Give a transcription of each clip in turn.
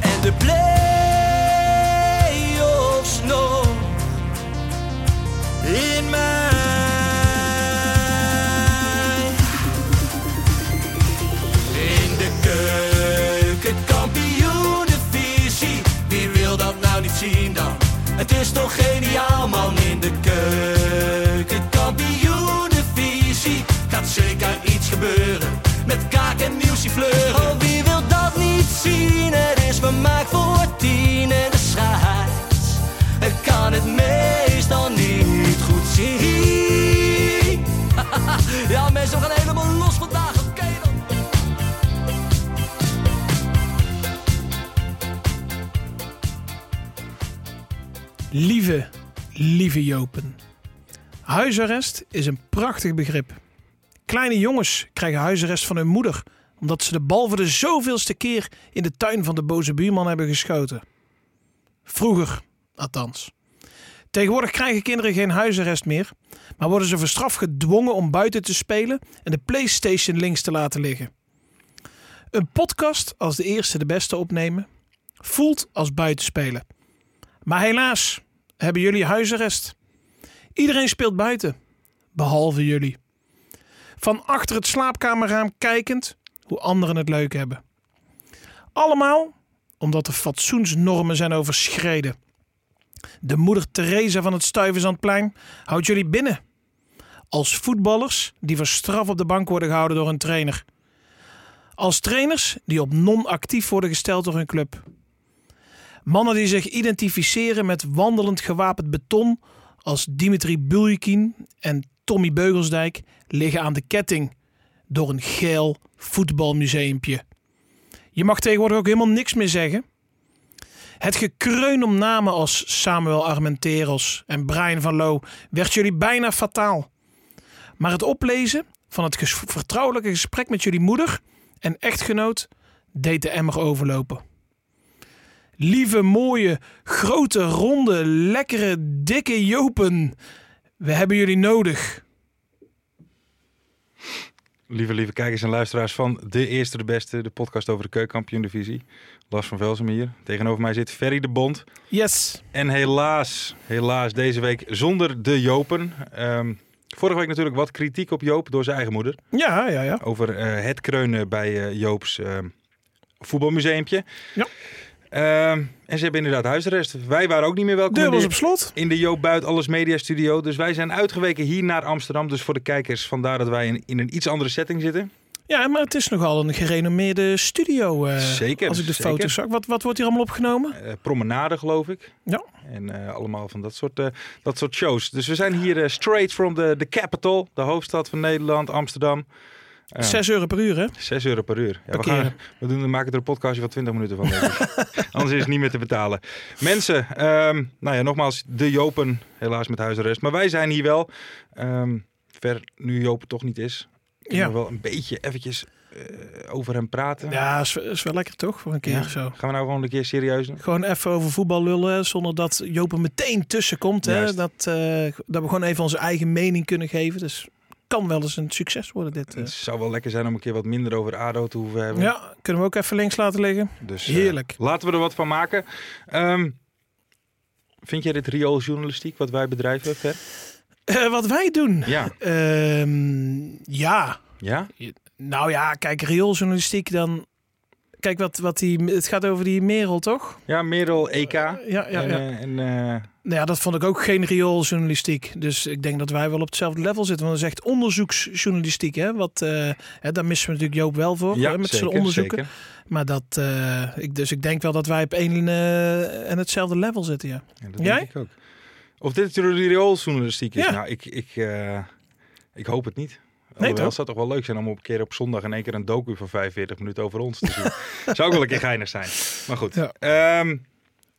En de play-offs nog. In mij. In de keuken, kampioenenvisie. Wie wil dat nou niet zien dan? Het is toch geniaal man in de keuken, kampioenenvisie. Gaat zeker iets gebeuren met kaak en nieuwsie fleuren. Oh, wie wil dat niet zien? Het is vermaakt voor tien en de scheids. Het kan het meestal niet goed zien. ja mensen, we gaan helemaal los vandaag, oké dan. Lieve, lieve Jopen. Huisarrest is een prachtig begrip. Kleine jongens krijgen huisarrest van hun moeder omdat ze de bal voor de zoveelste keer in de tuin van de boze buurman hebben geschoten. Vroeger, althans. Tegenwoordig krijgen kinderen geen huisarrest meer, maar worden ze voor straf gedwongen om buiten te spelen en de PlayStation links te laten liggen. Een podcast als de eerste de beste opnemen voelt als buitenspelen. Maar helaas hebben jullie huisarrest. Iedereen speelt buiten, behalve jullie. Van achter het slaapkamerraam kijkend hoe anderen het leuk hebben. Allemaal omdat de fatsoensnormen zijn overschreden. De moeder Theresa van het Stuyvesantplein houdt jullie binnen. Als voetballers die voor straf op de bank worden gehouden door hun trainer. Als trainers die op non-actief worden gesteld door hun club. Mannen die zich identificeren met wandelend gewapend beton als Dimitri Buljikin en Tommy Beugelsdijk liggen aan de ketting door een geel voetbalmuseumpje. Je mag tegenwoordig ook helemaal niks meer zeggen. Het gekreun om namen als Samuel Armenteros en Brian van Loo werd jullie bijna fataal. Maar het oplezen van het ges- vertrouwelijke gesprek met jullie moeder en echtgenoot deed de emmer overlopen lieve, mooie, grote, ronde, lekkere, dikke Jopen. We hebben jullie nodig. Lieve, lieve kijkers en luisteraars van De Eerste de Beste, de podcast over de keukenkampioen-divisie. Lars van Velsen hier. Tegenover mij zit Ferry de Bond. Yes. En helaas, helaas deze week zonder de Jopen. Ehm, vorige week natuurlijk wat kritiek op Joop door zijn eigen moeder. Ja, ja, ja. Over eh, het kreunen bij eh, Joops ehm, voetbalmuseumpje. Ja. Ehm, en ze hebben inderdaad huisarrest. Wij waren ook niet meer welkom. Deur in de- was op slot. in de Joop Buit Alles Media Studio. Dus wij zijn uitgeweken hier naar Amsterdam. Dus voor de kijkers, vandaar dat wij in, in een iets andere setting zitten. Ja, maar het is nogal een gerenommeerde studio. eh, Zeker, Als ik de zeker. foto's zag. Wat, wat wordt hier allemaal opgenomen? Eh, promenade, geloof ik. Ja. En eh, allemaal van dat soort, eh, dat soort shows. Dus we zijn hier eh, straight from the, the capital, de hoofdstad van Nederland, Amsterdam. Eh, Zes euro per uur, hè? 6 euro per uur. Ja, we, Parkeren. gaan, we doen, we maken er een podcastje van 20 minuten van. denk ik. Anders is het niet meer te betalen. Mensen, ehm, nou ja, nogmaals, de Jopen, helaas met huisarrest. Maar wij zijn hier wel. Ehm, ver nu Jopen toch niet is. Kunnen Ja. we wel een beetje eventjes eh, over hem praten. Ja, is, is wel lekker toch? Voor een keer Ja. zo. Gaan we nou gewoon een keer serieus doen? Gewoon even over voetbal lullen, zonder dat Jopen meteen tussenkomt. Hè? Juist. Dat, eh, dat we gewoon even onze eigen mening kunnen geven. Dus kan wel eens een succes worden dit. eh. Het zou wel lekker zijn om een keer wat minder over ADO te hoeven hebben. Ja, kunnen we ook even links laten liggen. Dus, eh, Heerlijk. laten we er wat van maken. Ehm, vind jij dit riooljournalistiek wat wij bedrijven, Ver? Eh, wat wij doen. Ja. Ehm, ja. Ja? Nou ja, kijk, riooljournalistiek dan. Kijk, wat, wat die, het gaat over die Merel, toch? Ja, Merel, EK. Ja, ja, ja. en, eh, en, eh, Nou ja, dat vond ik ook geen riooljournalistiek. Dus ik denk dat wij wel op hetzelfde level zitten. Want dat is echt onderzoeksjournalistiek, hè? Wat, eh, hè daar missen we natuurlijk Joop wel voor, ja, hè, Oh, eh, met zijn zeker, onderzoeken. zeker. Maar dat, eh, ik, dus ik denk wel dat wij op één eh, en hetzelfde level zitten, ja. Ja, dat Jij? denk ik ook. Of dit riooljournalistiek is? Ja. Nou, ik, ik, eh, ik hoop het niet. Alhoewel, toch? Het zou toch wel leuk zijn om op een keer op zondag in één keer een docu van 45 minuten over ons te zien. zou ook wel een keer geinig zijn. Maar goed. Ja. Ehm,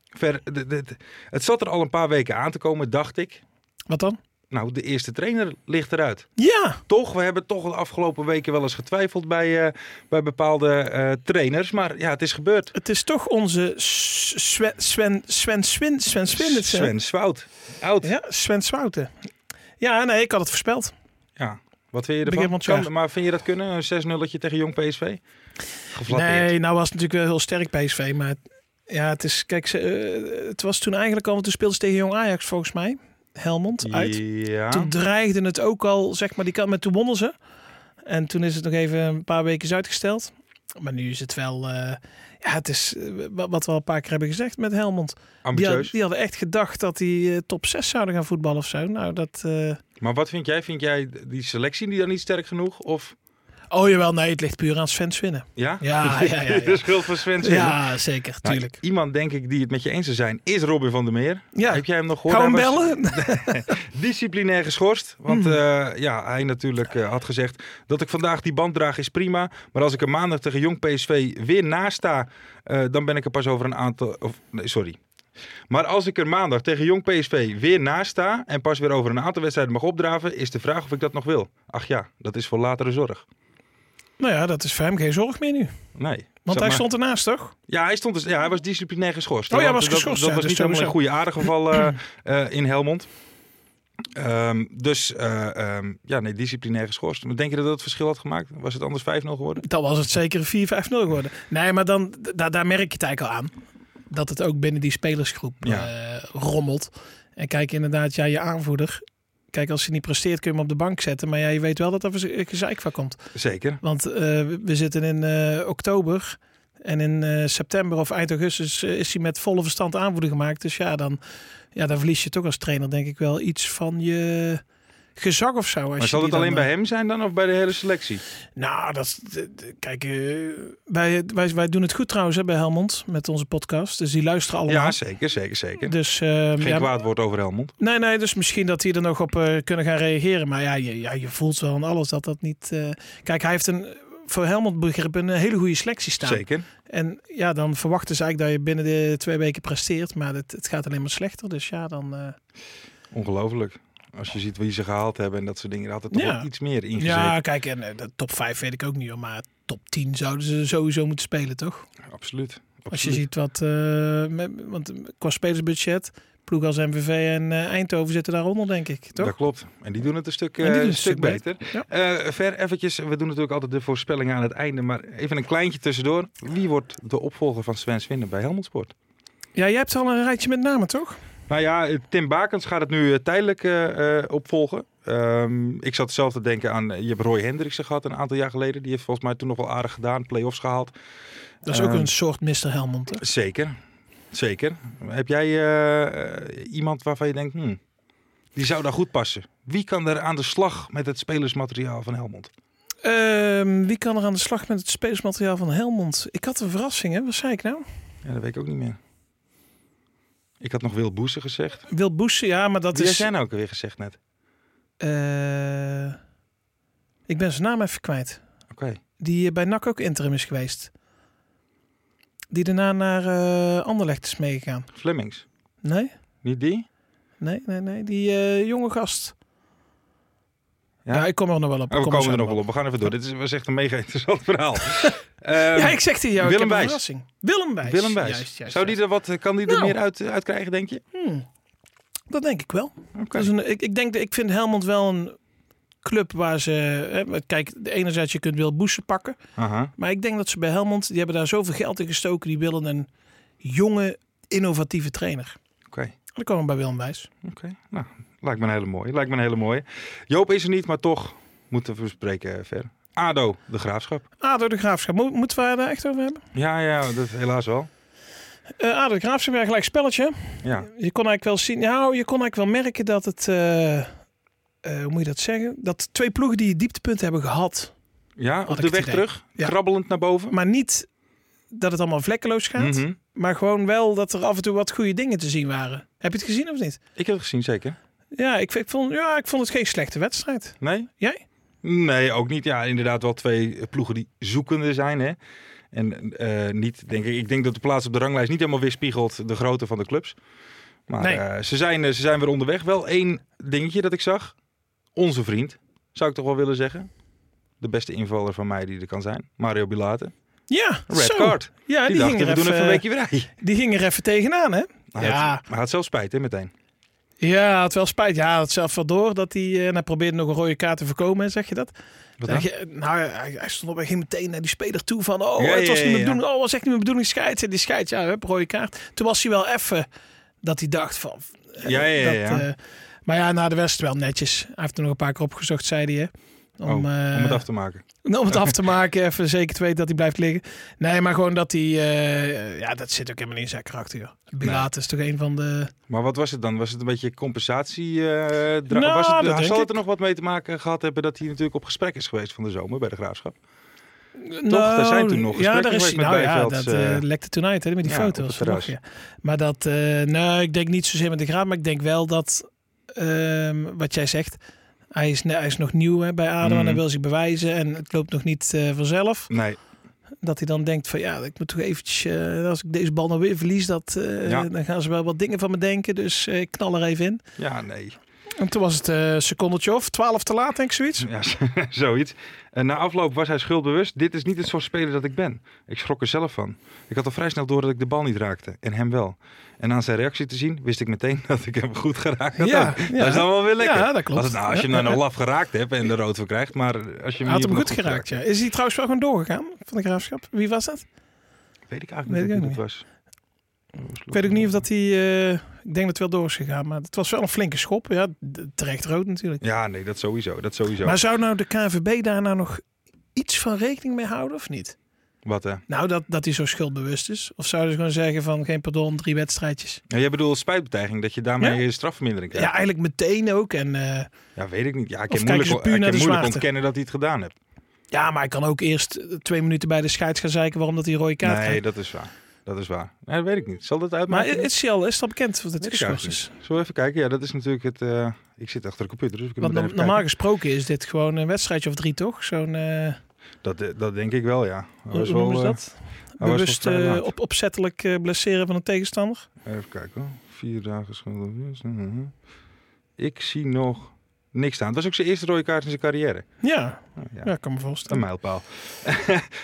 ver, de- de- de- het zat er al een paar weken aan te komen, dacht ik. Wat dan? Nou, de eerste trainer ligt eruit. Ja, Toch, we hebben toch de afgelopen weken wel eens getwijfeld bij, eh, bij bepaalde eh, trainers. Maar ja, het is gebeurd. het is toch onze S- Sven, Sven, Sven, Sven, Sven, Swinders, hè? Sven Swout. Oud. Ja. Ja, Sven Swouten. Ja, nee, ik had het voorspeld. Wat vind je Begin ervan? van het jaar. Kan- maar vind je dat kunnen? Een 6-0 tegen Jong PSV? Geflatteerd. Nee, nou was het natuurlijk wel heel sterk PSV, maar het- ja, het is, kijk, ze, eh, het was toen eigenlijk al, want toen speelden ze tegen Jong Ajax volgens mij, Helmond, uit. Ja. Toen dreigde het ook al, zeg maar, die kant met toen wonnen ze. En toen is het nog even een paar weken uitgesteld. Maar nu is het wel, eh, ja, het is eh, wa- wat we al een paar keer hebben gezegd met Helmond. Die, had- Ambitieus. die hadden echt gedacht dat die eh, top 6 zouden gaan voetballen of zo. Nou, dat... eh, Maar wat vind jij? Vind jij die selectie die dan niet sterk genoeg? Of Oh jawel, nee, het ligt puur aan Sven's winnen. ja? Ja, ja, ja, ja. de schuld van Sven. Singer. Ja, zeker, Nou, tuurlijk. iemand denk ik die het met je eens zou zijn is Robin van der Meer. Ja. Heb jij hem nog gehoord? Gaan we Hij hem was bellen? Disciplinair geschorst. Want Hmm. eh, ja, hij natuurlijk eh, had gezegd dat ik vandaag die band draag is prima. Maar als ik er maandag tegen Jong PSV weer naast sta, eh, dan ben ik er pas over een aantal... Of, nee, sorry. Maar als ik er maandag tegen Jong PSV weer naast sta en pas weer over een aantal wedstrijden mag opdraven, is de vraag of ik dat nog wil. Ach ja, dat is voor latere zorg. Nou ja, dat is voor hem geen zorg meer nu. Nee. Want Zeg hij maar- stond ernaast, toch? Ja, hij, stond dus, ja, hij was disciplinair geschorst. Oh ja, hij Want was dat- geschorst, Dat, ja, was dus niet helemaal een goede aardig geval eh, eh, in Helmond. Ehm, dus eh, ehm, ja, nee, disciplinair geschorst. Maar Denk je dat dat het verschil had gemaakt? Was het anders 5-0 geworden? Dan was het zeker een 4-5-0 geworden. Nee, maar dan, da- daar merk je het eigenlijk al aan. Dat het ook binnen die spelersgroep Ja. eh, rommelt. En kijk, inderdaad, ja, je aanvoerder. Kijk, als hij niet presteert, kun je hem op de bank zetten. Maar ja, je weet wel dat er verze- gezeik van komt. Zeker. Want eh, we zitten in eh, oktober. En in eh, september of eind augustus eh, is hij met volle verstand aanvoerder gemaakt. Dus ja dan, ja, dan verlies je toch als trainer denk ik wel iets van je gezag of zo. Als Maar zal het alleen bij hem zijn dan of bij de hele selectie? eh, Nou, dat, is- d- d- kijk, eh, wij, wij, wij doen het goed trouwens hè, bij Helmond met onze podcast. Dus die luisteren allemaal. Ja, zeker, zeker, zeker. dus, eh, Geen ja, kwaad woord over Helmond. Nee, nee, dus misschien dat die er nog op eh, kunnen gaan reageren. Maar ja je, ja, je voelt wel aan alles dat dat niet... eh, Kijk, hij heeft een, voor Helmond begrip een hele goede selectie staan. Zeker. En ja, dan verwachten ze eigenlijk dat je binnen de twee weken presteert. Maar het, het gaat alleen maar slechter. Dus ja, dan... eh, Ongelooflijk. Als je ziet wie ze gehaald hebben en dat soort dingen, daar had het toch Ja. wel iets meer ingezet. ja, kijk, en eh, de top 5 weet ik ook niet hoor. Maar top 10 zouden ze sowieso moeten spelen, toch? Absoluut. Als je absoluut. ziet wat... eh, met- want qua spelersbudget, ploeg als MVV en eh, Eindhoven zitten daaronder, denk ik. Toch? Dat klopt. En die doen het een stuk, die eh, doen een het stuk beter. Ja. Eh, ver eventjes, we doen natuurlijk altijd de voorspellingen aan het einde, maar even een kleintje tussendoor. Wie wordt de opvolger van Sven Swinden bij Helmond Sport? Ja, jij hebt al een rijtje met namen, toch? Nou ja, eh, Tim Bakens gaat het nu eh, tijdelijk eh, eh, opvolgen. Ehm, ik zat zelf te denken aan, eh, je hebt Roy Hendriksen gehad een aantal jaar geleden. Die heeft volgens mij toen nog wel aardig gedaan, play-offs gehaald. Dat is ook Ehm, een soort Mr. Helmond. hè? Zeker, zeker. Heb jij eh, eh, iemand waarvan je denkt, hmm, die zou daar goed passen? Wie kan er aan de slag met het spelersmateriaal van Helmond? Ehm, wie kan er aan de slag met het spelersmateriaal van Helmond? Ik had een verrassing, hè? Wat zei ik nou? Ja, dat weet ik ook niet meer. Ik had nog Wil Boesen gezegd. Dat Wil Boesen, ja, maar dat Wie is... is... jij nou ook weer gezegd net? eh, ik ben zijn naam even kwijt. Oké. Die eh, bij NAC ook interim is geweest. Die daarna naar eh, Anderlecht is meegegaan. Flemings. Nee, Niet die? nee, nee, nee. Die eh, jonge gast. Ja? Ja? ik kom er nog wel op. Oh, Ik we kom komen zo er nog wel op. We gaan even door. Dit is, was echt een mega interessant verhaal. Ehm, Ja, ik zeg die jou. ik heb Willem een Wijs. verrassing. Willem Wijs. Willem Wijs. Juist, juist, Zou die er wat, eh, kan die er Nou. meer uit, uitkrijgen, denk je? Hmm. Dat denk ik wel. Oké. Dat is een, ik, ik denk, dat- ik vind Helmond wel een club waar ze... Hè, kijk, enerzijds je kunt Wil Boesen pakken. Aha. Maar ik denk dat ze bij Helmond, die hebben daar zoveel geld in gestoken. Die willen een jonge, innovatieve trainer. Oké. Dan komen we bij Willem Wijs. Oké. Nou, lijkt me een hele mooie. Lijkt me een hele mooie. Joop is er niet, maar toch moeten we bespreken eh, verder. ADO, de Graafschap. Ado de Graafschap, Mo- moeten we daar eh, echt over hebben? Ja, ja, dat helaas wel. Eh Ado de Graafschap, ja, gelijk spelletje. Ja. Je kon eigenlijk wel zien, nou, je kon eigenlijk wel merken dat het, eh, eh, hoe moet je dat zeggen? Dat twee ploegen die dieptepunten hebben gehad, Ja, ik op de het weg idee. terug. Ja. Krabbelend naar boven. maar niet dat het allemaal vlekkeloos gaat. Mhm. Maar gewoon wel dat er af en toe wat goede dingen te zien waren. Heb je het gezien of niet? Ik heb het gezien, zeker. Ja, ik, ik, vond, ja, ik vond het geen slechte wedstrijd. Nee? Jij? Nee, ook niet. Ja, inderdaad wel twee ploegen die zoekende zijn. Hè? En eh, niet, denk ik, ik denk dat de plaats op de ranglijst niet helemaal weerspiegelt de grootte van de clubs. Maar Nee. eh, ze, zijn, eh, ze zijn weer onderweg. Wel één dingetje dat ik zag. Onze vriend, zou ik toch wel willen zeggen. De beste invaller van mij die er kan zijn. Mario Bilate. Ja, Red zo. card. Ja, Die, die, dacht, ging we er doen even, even een Ah, weekje vrij. die ging er even tegenaan, hè? Maar hij had- ja, Maar hij had zelf spijt, hè, meteen. ja, had wel spijt. Ja, had zelf wel door dat hij... eh, En hij probeerde nog een rode kaart te voorkomen, zeg je dat? Wat Zeg dan? je, nou, hij, hij stond op en ging meteen naar die speler toe van... Oh, Ja, het was ja, niet mijn ja, ja. bedoeling. Oh, was echt niet mijn bedoeling. Scheids. En die scheids, ja, hup, rode kaart. Toen was hij wel even dat hij dacht van... eh, Ja, ja, ja, dat, ja. eh, maar ja, na de wedstrijd wel netjes. Hij heeft er nog een paar keer opgezocht, zei hij, hè? Oh, om eh, het af te maken. nou, Om het af te maken, even zeker te weten dat hij blijft liggen. Nee, maar gewoon dat hij... eh, ja, dat zit ook helemaal niet in zijn karakter. joh. Bilate is toch een van de... Maar wat was het dan? Was het een beetje compensatie? eh dra- Nou, was dat het, denk zal ik. het er nog wat mee te maken gehad hebben dat hij natuurlijk op gesprek is geweest van de zomer bij de graafschap? Nou, daar zijn toen Ja, nog gesprekken daar is geweest met nou ja, Bijvelds, dat eh eh, lekte toen uit hè, met die ja, op foto's. het vanaf, terras. ja. Maar dat, eh nou, ik denk niet zozeer met de graad, maar ik denk wel dat ehm, wat jij zegt. Hij is, hij is nog nieuw hè, bij ADO en Mhm. hij wil zich bewijzen en het loopt nog niet eh, vanzelf. Nee, Dat hij dan denkt van ja, ik moet toch eventjes, eh, als ik deze bal nou weer verlies, dat, eh, Ja. dan gaan ze wel wat dingen van me denken. Dus eh, ik knal er even in. ja, nee. En toen was het eh, een secondetje of twaalf te laat denk ik zoiets. Ja, zoiets. En na afloop was hij schuldbewust. Dit is niet het soort speler dat ik ben. Ik schrok er zelf van. Ik had al vrij snel door dat ik de bal niet raakte. En hem wel. En aan zijn reactie te zien, wist ik meteen dat ik hem goed geraakt had. Ja, ook. ja. Dat is dan wel weer lekker. Ja, dat klopt. Als, het nou, als je hem Ja, nou nog ja. laf geraakt hebt en de rood voor krijgt, maar als je hem Hij had hier hem nog eh, goed geraakt, ja. Is hij trouwens wel gewoon doorgegaan van de graafschap? Wie was dat? Weet ik eigenlijk Weet niet ik wie ook dat was. Ik weet ook niet of dat hij... eh, ik denk dat het wel door is gegaan, maar het was wel een flinke schop. Ja, d- terecht rood natuurlijk. Ja, nee, dat sowieso. Dat sowieso. Maar zou nou de KNVB daar nou nog iets van rekening mee houden of niet? Wat hè? Nou, dat, dat hij zo schuldbewust is. Of zouden ze gewoon zeggen van geen pardon, drie wedstrijdjes. Ja, jij bedoelt spijtbetuiging, dat je daarmee een strafvermindering Ja, krijgt? Ja. eigenlijk meteen ook. En, eh, weet ik niet. Ja, ik Of kijken heb moeilijk, ze puur ik naar heb de moeilijk zwaarte? ontkennen dat hij het gedaan heeft. ja, maar hij kan ook eerst twee minuten bij de scheids gaan zeiken waarom dat hij een rode kaart nee, krijgt. dat is waar. Dat is waar. Nee, dat weet ik niet. Zal dat Maar uitmaken? is, al, is dat bekend wat het Weet ik geschorst is? eigenlijk niet. Zullen we even kijken? Ja, dat is natuurlijk het... eh, ik zit achter de computer, dus ik Want kan no- even normaal kijken. gesproken is dit gewoon een wedstrijdje of drie, toch? Zo'n, eh, Dat, eh, dat denk ik wel, ja. Hij hoe, was hoe wel, noemen ze eh, dat? wel Bewust vrij eh, laat. op, opzettelijk eh, blesseren van een tegenstander? Even kijken hoor. Vier dagen schulden. Mhm. Ik zie nog niks staan. Het was ook zijn eerste rode kaart in zijn carrière. Ja, Nou, ja, ja, ik kan me een voorstellen. mijlpaal.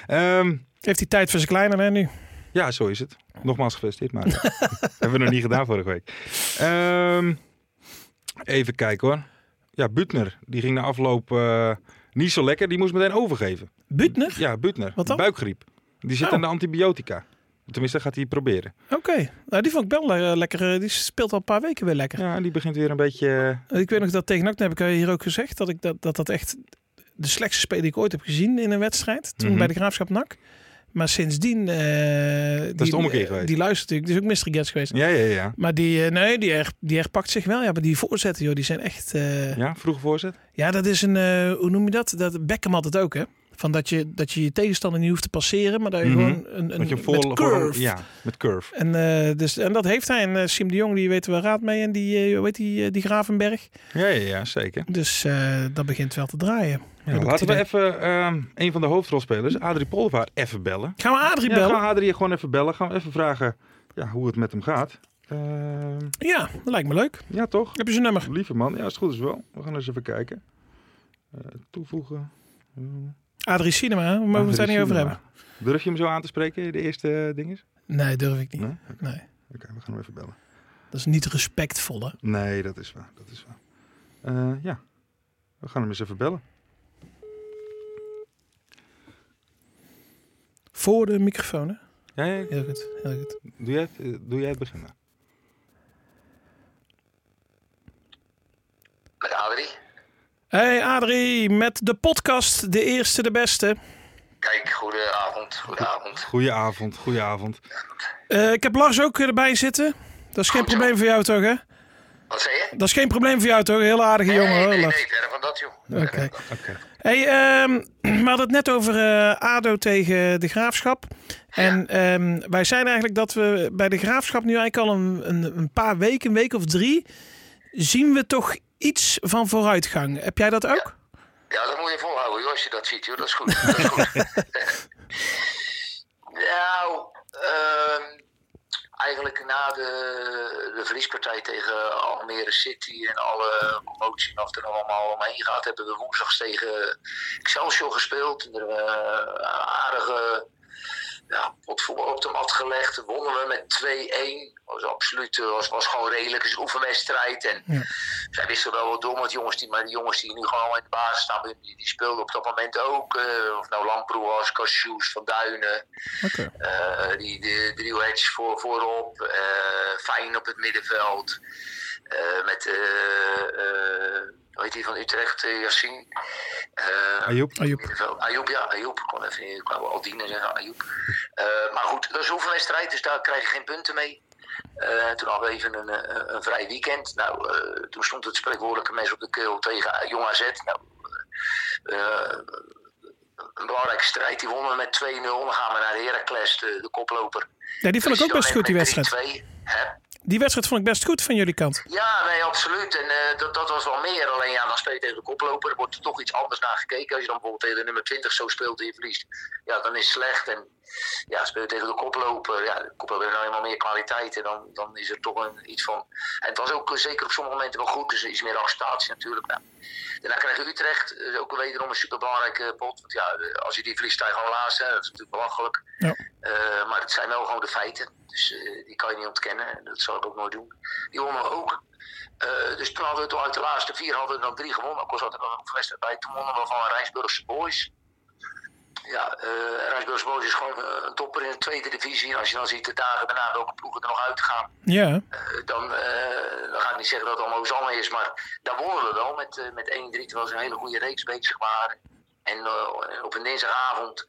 Ehm Heeft hij tijd voor zijn kleiner hè, nu? Ja, zo is het. Nogmaals gefeliciteerd, maar hebben we nog niet gedaan vorige week. Ehm, even kijken hoor. Ja, Butner, die ging na afloop eh, niet zo lekker. Die moest meteen overgeven. Butner? Ja, Butner. Wat dan? Buikgriep. Die zit Oh. aan de antibiotica. Tenminste, dat gaat hij proberen. Oké. Nou, die vond ik wel le- lekker. eh, Die speelt al een paar weken weer lekker. Ja, en die begint weer een beetje... eh, Ik weet nog dat tegen NAC, dat heb ik hier ook gezegd, dat ik dat, dat, dat echt de slechtste speler die ik ooit heb gezien in een wedstrijd. Toen Mhm. bij de Graafschap NAC. Maar sindsdien... eh dat de ommekeer geweest. Die luistert natuurlijk. Die is ook Mr. Gets geweest. Ja, ja, ja. Maar die, eh, nee, die, her, die herpakt zich wel. Ja, maar die voorzetten, joh, die zijn echt... eh, Ja, vroege voorzet. Ja, dat is een, eh, hoe noem je dat? dat Beckham had het ook, hè? Van dat je dat je, je tegenstander niet hoeft te passeren, maar dat je Mhm. gewoon een, een Dat je hem met voor- curve. voor- Ja, met curve. En, eh, dus, en dat heeft hij. En eh, Sim de Jong, die weet er wel raad mee. En die, weet die, eh, die Gravenberg. Ja, ja, ja, zeker. Dus eh, dat begint wel te draaien. Ja, Heb ik laten het we idee. even ehm, een van de hoofdrolspelers, Adrie Polvaart, even bellen. Gaan we Adrie Ja, bellen? gaan we Adrie gewoon even bellen. Gaan we even vragen ja, hoe het met hem gaat. Ehm, Ja, dat lijkt me leuk. ja, toch? Heb je zijn nummer? Lieve man. Ja, als het goed is wel. We gaan eens even kijken. Eh, toevoegen. Hmm. Adrie Cinema, hè? we mogen het daar niet over hebben. Durf je hem zo aan te spreken, de eerste eh, ding is? Nee, durf ik niet. Nee? Nee. Oké, we gaan hem even bellen. Dat is niet respectvol, hè? Nee, dat is waar. Dat is waar. Eh, ja, we gaan hem eens even bellen. Voor de microfoon, hè? Ja, ja, Heel goed, heel goed. doe, jij het, eh, doe jij het begin maar. Met Adrie. Hey Adrie, met de podcast De Eerste De Beste. Kijk, goedenavond. Goedenavond. Goedenavond, goedenavond. Eh, ik heb Lars ook erbij zitten. Dat is geen probleem voor jou toch, hè? Wat zei je? Dat is geen probleem voor jou toch? Heel aardige jongen nee, hoor, nee, Lars. nee, verder van dat, joh. Oké. Verder van dat. Oké. Hey, ehm, we hadden het net over eh, ADO tegen de Graafschap. En ehm, wij zijn eigenlijk dat we bij de Graafschap nu eigenlijk al een, een, een paar weken, een week of drie... zien we toch iets van vooruitgang. Heb jij dat ook? Ja, dat moet je volhouden joh, als je dat ziet. Joh. Dat is goed. Dat is goed. nou, ehm, eigenlijk na de, de verliespartij tegen Almere City en alle motie en of er nog allemaal omheen gaat, hebben we woensdags tegen Excelsior gespeeld. En er hebben we een aardige ja, pot voetbal op de mat gelegd. Wonnen we met 2-1. Was absoluut, eh, was, was gewoon redelijk. Het is een oefenwedstrijd. En zij wisten wel wat door met jongens die, maar die jongens die nu gewoon in de basis staan, die, die speelden op dat moment ook. eh, of nou Lamproe was, Cassius, Van Duinen. Oké. Eh, die de driehoeks voor, voorop, eh, Fijn op het middenveld. eh, met, eh eh, hoe heet die van Utrecht, eh, Yassine? Eh, Ajoep. Ajoep. middenveld. Ayoub, ja, Ayoub. Ik kon even ik wou Aldine zeggen, Ayoub. Eh, maar goed, dat is een oefenwedstrijd, dus daar krijg je geen punten mee. Eh, toen hadden we even een, eh, een vrij weekend. Nou, eh, toen stond het spreekwoordelijke mes op de keel tegen eh, Jong AZ. Nou, eh, een belangrijke strijd, die wonnen we met 2-0. Dan gaan we naar Heracles, de, de koploper. Dus Ja, die vond ik ook best goed, die wedstrijd. 3-2, hè? Die wedstrijd vond ik best goed van jullie kant. Ja, nee, absoluut. En eh, dat, dat was wel meer. Alleen ja, dan speel je tegen de koploper. Er wordt er toch iets anders naar gekeken. Als je dan bijvoorbeeld tegen de nummer 20 zo speelt en je verliest. Ja, dan is het slecht. En ja, speel je tegen de koploper. Ja, de koploper heeft nou eenmaal meer kwaliteit. En dan, dan is er toch een, iets van... En het was ook eh, zeker op sommige momenten wel goed. Dus iets meer acceptatie natuurlijk. Nou, daarna krijg je Utrecht. eh, ook wederom een superbelangrijke pot. Want ja, eh, als je die verliest, sta je gewoon laatste. hè. Dat is natuurlijk belachelijk. Ja. Eh, maar het zijn wel gewoon de feiten. Dus eh, die kan je niet ontkennen. En dat zal ik ook nooit doen. Die wonnen we ook. Eh, dus toen hadden we toch uit de laatste vier hadden we dan drie gewonnen. Ook al zat er nog een wedstrijd bij. Toen wonnen we van Rijnsburgse Boys. Ja, eh Rijnsburgse Boys is gewoon eh, een topper in de tweede divisie. En als je dan ziet de dagen daarna welke ploegen er nog uitgaan. Ja, Eh, dan, eh, dan ga ik niet zeggen dat het allemaal Ozanne is, maar daar wonnen we wel met, eh, met 1-3, terwijl ze een hele goede reeks bezig waren. En eh, op een dinsdagavond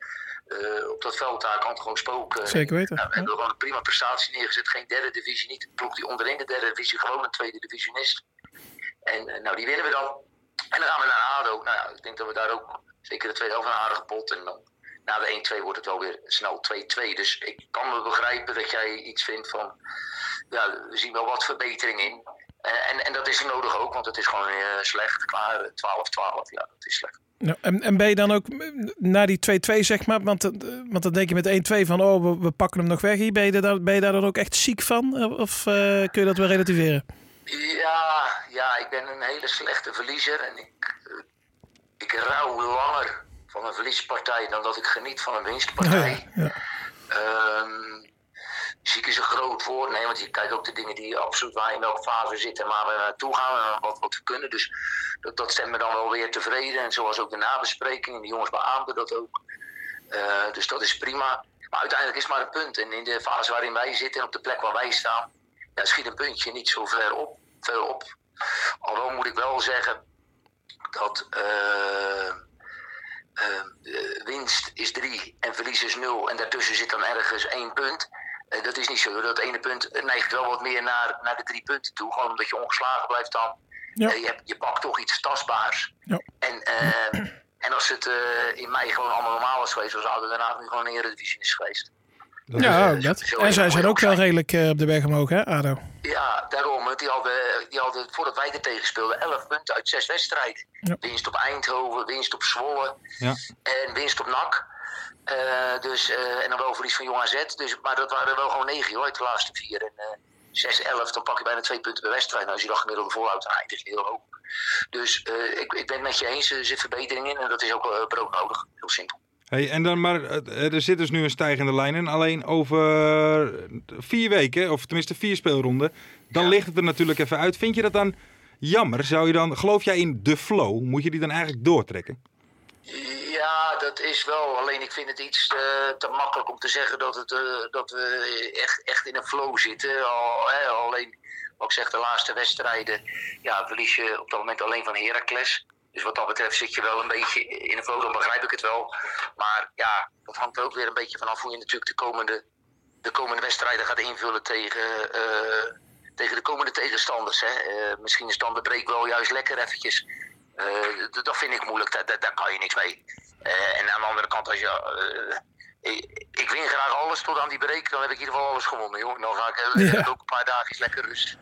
eh, op dat veld daar kan het gewoon spoken. Zeker weten, Nou, we ja. hebben gewoon een prima prestatie neergezet. Geen derde divisie, niet de ploeg die onderin de derde divisie, gewoon een tweede divisionist. En eh, nou, die winnen we dan. En dan gaan we naar ADO. Nou ja, ik denk dat we daar ook zeker de tweede helft een aardige pot. En dan na de 1-2 wordt het wel weer snel 2-2. Dus ik kan me begrijpen dat jij iets vindt van... Ja, we zien wel wat verbetering in. Eh, en, en dat is nodig ook, want het is gewoon eh, slecht. Klaar, eh, 12-12. Ja, dat is slecht. Nou, en, en ben je dan ook mm, na die 2-2, zeg maar, want, eh, want dan denk je met 1-2 van, oh, we, we pakken hem nog weg. Hier ben je, daar, ben je daar dan ook echt ziek van? Eh, Of eh, kun je dat wel relativeren? Ja, ja, ik ben een hele slechte verliezer. En ik, eh, ik rouw langer van een verliespartij dan dat ik geniet van een winstpartij. Ehm, ziek is een groot woord, nee, want je kijkt ook de dingen die absoluut waar in welke fase zitten, maar we naartoe gaan en wat, wat we kunnen. Dus dat, dat stemt me dan wel weer tevreden. En zoals ook de nabespreking, en de jongens beaamden dat ook. Eh, dus dat is prima. Maar uiteindelijk is het maar een punt. En in de fase waarin wij zitten en op de plek waar wij staan, ja, schiet een puntje niet zo ver op. Ver op. Alhoewel moet ik wel zeggen dat. eh, Ehm, eh, winst is 3 en verlies is 0 en daartussen zit dan ergens één punt. Eh, dat is niet zo. Dat ene punt neigt wel wat meer naar, naar de drie punten toe. Gewoon omdat je ongeslagen blijft dan. Ja. Eh, je, hebt- je pakt toch iets tastbaars. Ja. En, ehm, en als het eh, in mei gewoon allemaal normaal was geweest, was Aden daarna nu gewoon een Eredivisie is geweest. Ja, is- dat. zo En is zij het zijn ook ook wel zijn. redelijk eh, op de weg omhoog, hè, Ado? Ja, daarom. want Die hadden, die hadden voordat wij er tegen speelden 11 punten uit 6 wedstrijden. Ja. Winst op Eindhoven, winst op Zwolle Ja. en winst op NAC. Eh, dus, eh, en dan wel verlies van Jong AZ. Dus, maar dat waren wel gewoon 9 hoor, uit de laatste vier. En eh 6-11, dan pak je bijna 2 punten per wedstrijd. Nou, als je dat gemiddelde volhoudt, dan eindigt het heel hoog. Dus eh, ik, ik ben het met je eens, er zit verbetering in en dat is ook eh, broodnodig. Heel simpel. Hey, en dan maar, eh, er zit dus nu een stijgende lijn in. Alleen over vier weken, of tenminste vier speelronden, dan ligt het er natuurlijk even uit. Vind je dat dan jammer? Zou je dan, geloof jij in de flow? Moet je die dan eigenlijk doortrekken? Ja, dat is wel. Alleen ik vind het iets eh, te makkelijk om te zeggen dat, het, eh, dat we echt, echt in een flow zitten. Al, hè, alleen, wat ik zeg, de laatste wedstrijden ja, verlies je op dat moment alleen van Heracles. Dus wat dat betreft zit je wel een beetje in een flow, dan begrijp ik het wel. Maar ja, dat hangt er ook weer een beetje vanaf hoe je natuurlijk de komende, de komende wedstrijden gaat invullen tegen, eh, tegen de komende tegenstanders. Hè. Eh, misschien is dan de break wel juist lekker eventjes. Eh, d- dat vind ik moeilijk, daar, daar, daar kan je niks mee. Eh, en aan de andere kant, als je, eh, Ik, ik win graag alles tot aan die break. Dan heb ik in ieder geval alles gewonnen, joh. Dan ga ik eh, Ja. heb ik ook een paar dagen lekker rust.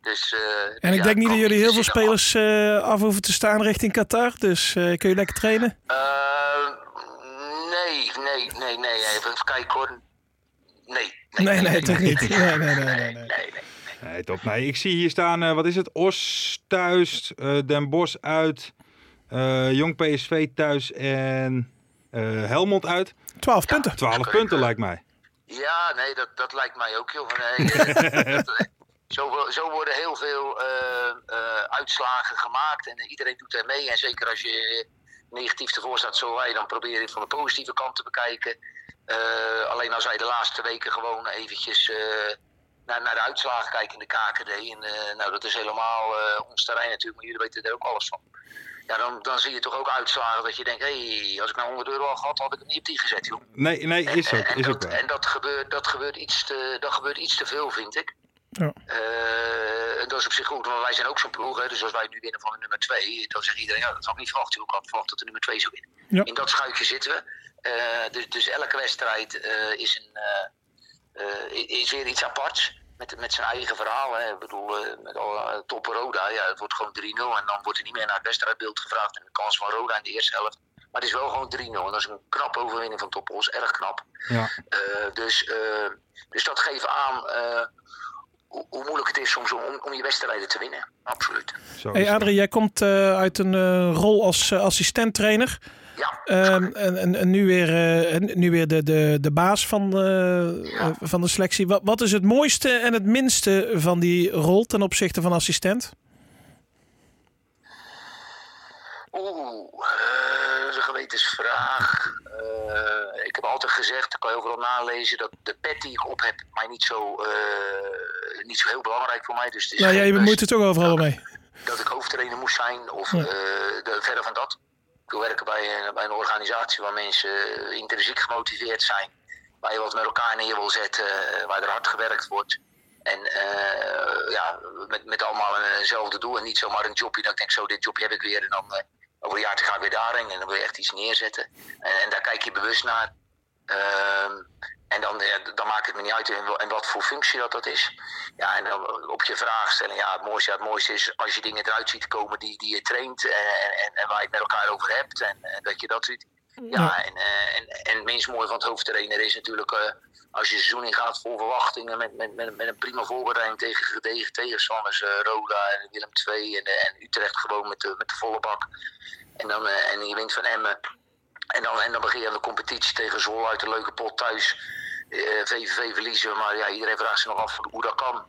Dus, eh, En ik ja, denk niet kan dat jullie heel veel zitten wachten. spelers eh, af hoeven te staan richting Qatar. Dus eh, kun je lekker trainen. Eh, nee, nee, nee, nee. Even kijken hoor. Nee. Nee, nee, toch niet. Nee, nee, nee, nee, nee. nee, nee. Nee, top. Nee, ik zie hier staan, eh, wat is het? Os thuis, eh, Den Bosch uit, eh, Jong PSV thuis en eh, Helmond uit. 12 punten. 12 punten lijkt mij. Ja, nee, dat, dat lijkt mij ook, joh. Nee, eh, dat- zo, wo- zo worden heel veel eh, eh, uitslagen gemaakt en eh, iedereen doet er mee. En zeker als je eh, negatief ervoor staat, zoals wij, dan probeer je het van de positieve kant te bekijken. Eh, alleen als wij de laatste weken gewoon eventjes eh, naar, naar de uitslagen kijken in de KKD. En eh, nou, dat is helemaal eh, ons terrein natuurlijk, maar jullie weten er ook alles van. Ja, dan, dan zie je toch ook uitslagen dat je denkt, hé, als ik nou 100 euro had gehad, had ik het niet op die gezet, joh. Nee, nee, is ook, En, is ook dat, wel. en dat, gebeurt, dat, gebeurt iets te, dat gebeurt iets te veel, vind ik. Ja. Eh, en dat is op zich goed, want wij zijn ook zo'n ploeg. Hè? Dus als wij nu winnen van de nummer 2, dan zegt iedereen: ja, dat had ik niet verwacht. joh. Ik had verwacht dat de nummer 2 zou winnen. Ja. In dat schuitje zitten we. Eh, dus, dus elke wedstrijd eh, is, een, eh, eh, is weer iets aparts. Met, met zijn eigen verhaal. Hè. Ik bedoel, eh, met al, eh, top Roda. Ja, het wordt gewoon 3-0. En dan wordt er niet meer naar het wedstrijdbeeld gevraagd. En de kans van Roda in de eerste helft. Maar het is wel gewoon 3-0. En dat is een knappe overwinning van Topos. Erg knap. Ja. Eh, dus, eh, dus dat geeft aan eh, hoe, hoe moeilijk het is soms om, om je wedstrijden te winnen. Absoluut. Zo is Hey het. Adrie, jij komt eh, uit een eh, rol als eh, assistent-trainer. Ja, Ehm, en, en, en nu weer, eh, en nu weer de, de, de baas van, eh, eh, van de selectie. Wat, wat is het mooiste en het minste van die rol ten opzichte van assistent? Nou, Oeh, eh, dat is een gewetensvraag. Eh, ik heb altijd gezegd, dat kan je overal nalezen, dat de pet die ik op heb mij niet zo, eh, niet zo heel belangrijk voor mij. Dus het is Nou, geen jij best bemoeit er toch overal mee. dat ik hoofdtrainer moest zijn of eh, de, verder van dat. Ik wil werken bij, een- bij een organisatie waar mensen eh, intrinsiek gemotiveerd zijn. Waar je wat met elkaar neer wil zetten, eh, waar er hard gewerkt wordt. En eh, ja, met, met allemaal een- eenzelfde doel en niet zomaar een jobje. Dan denk ik zo, dit jobje heb ik weer en dan eh, over een jaar ga ik weer daarheen. En dan wil je echt iets neerzetten. En, en daar kijk je bewust naar. Ehm, en dan, ja, dan maakt het me niet uit in, wel- in wat voor functie dat, dat is. Ja, en dan eh, op je vraagstelling, ja, het mooiste, ja, het mooiste is als je dingen eruit ziet komen die, die je traint en, en, en waar je het met elkaar over hebt en, en dat je dat ziet. Ja, en, eh, en, en het minst mooie van het hoofdtrainer is natuurlijk eh, als je het seizoen ingaat vol verwachtingen met, met, met, met een prima voorbereiding tegen gedegen tegenstanders, eh, Roda en Willem II en, eh, en Utrecht gewoon met de, met de volle bak. En, dan, eh, en je wint van Emmen. En dan, en dan begin je aan de competitie tegen Zwolle uit de leuke pot thuis. Eh, VVV verliezen, maar ja, iedereen vraagt zich nog af hoe dat kan.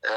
Eh,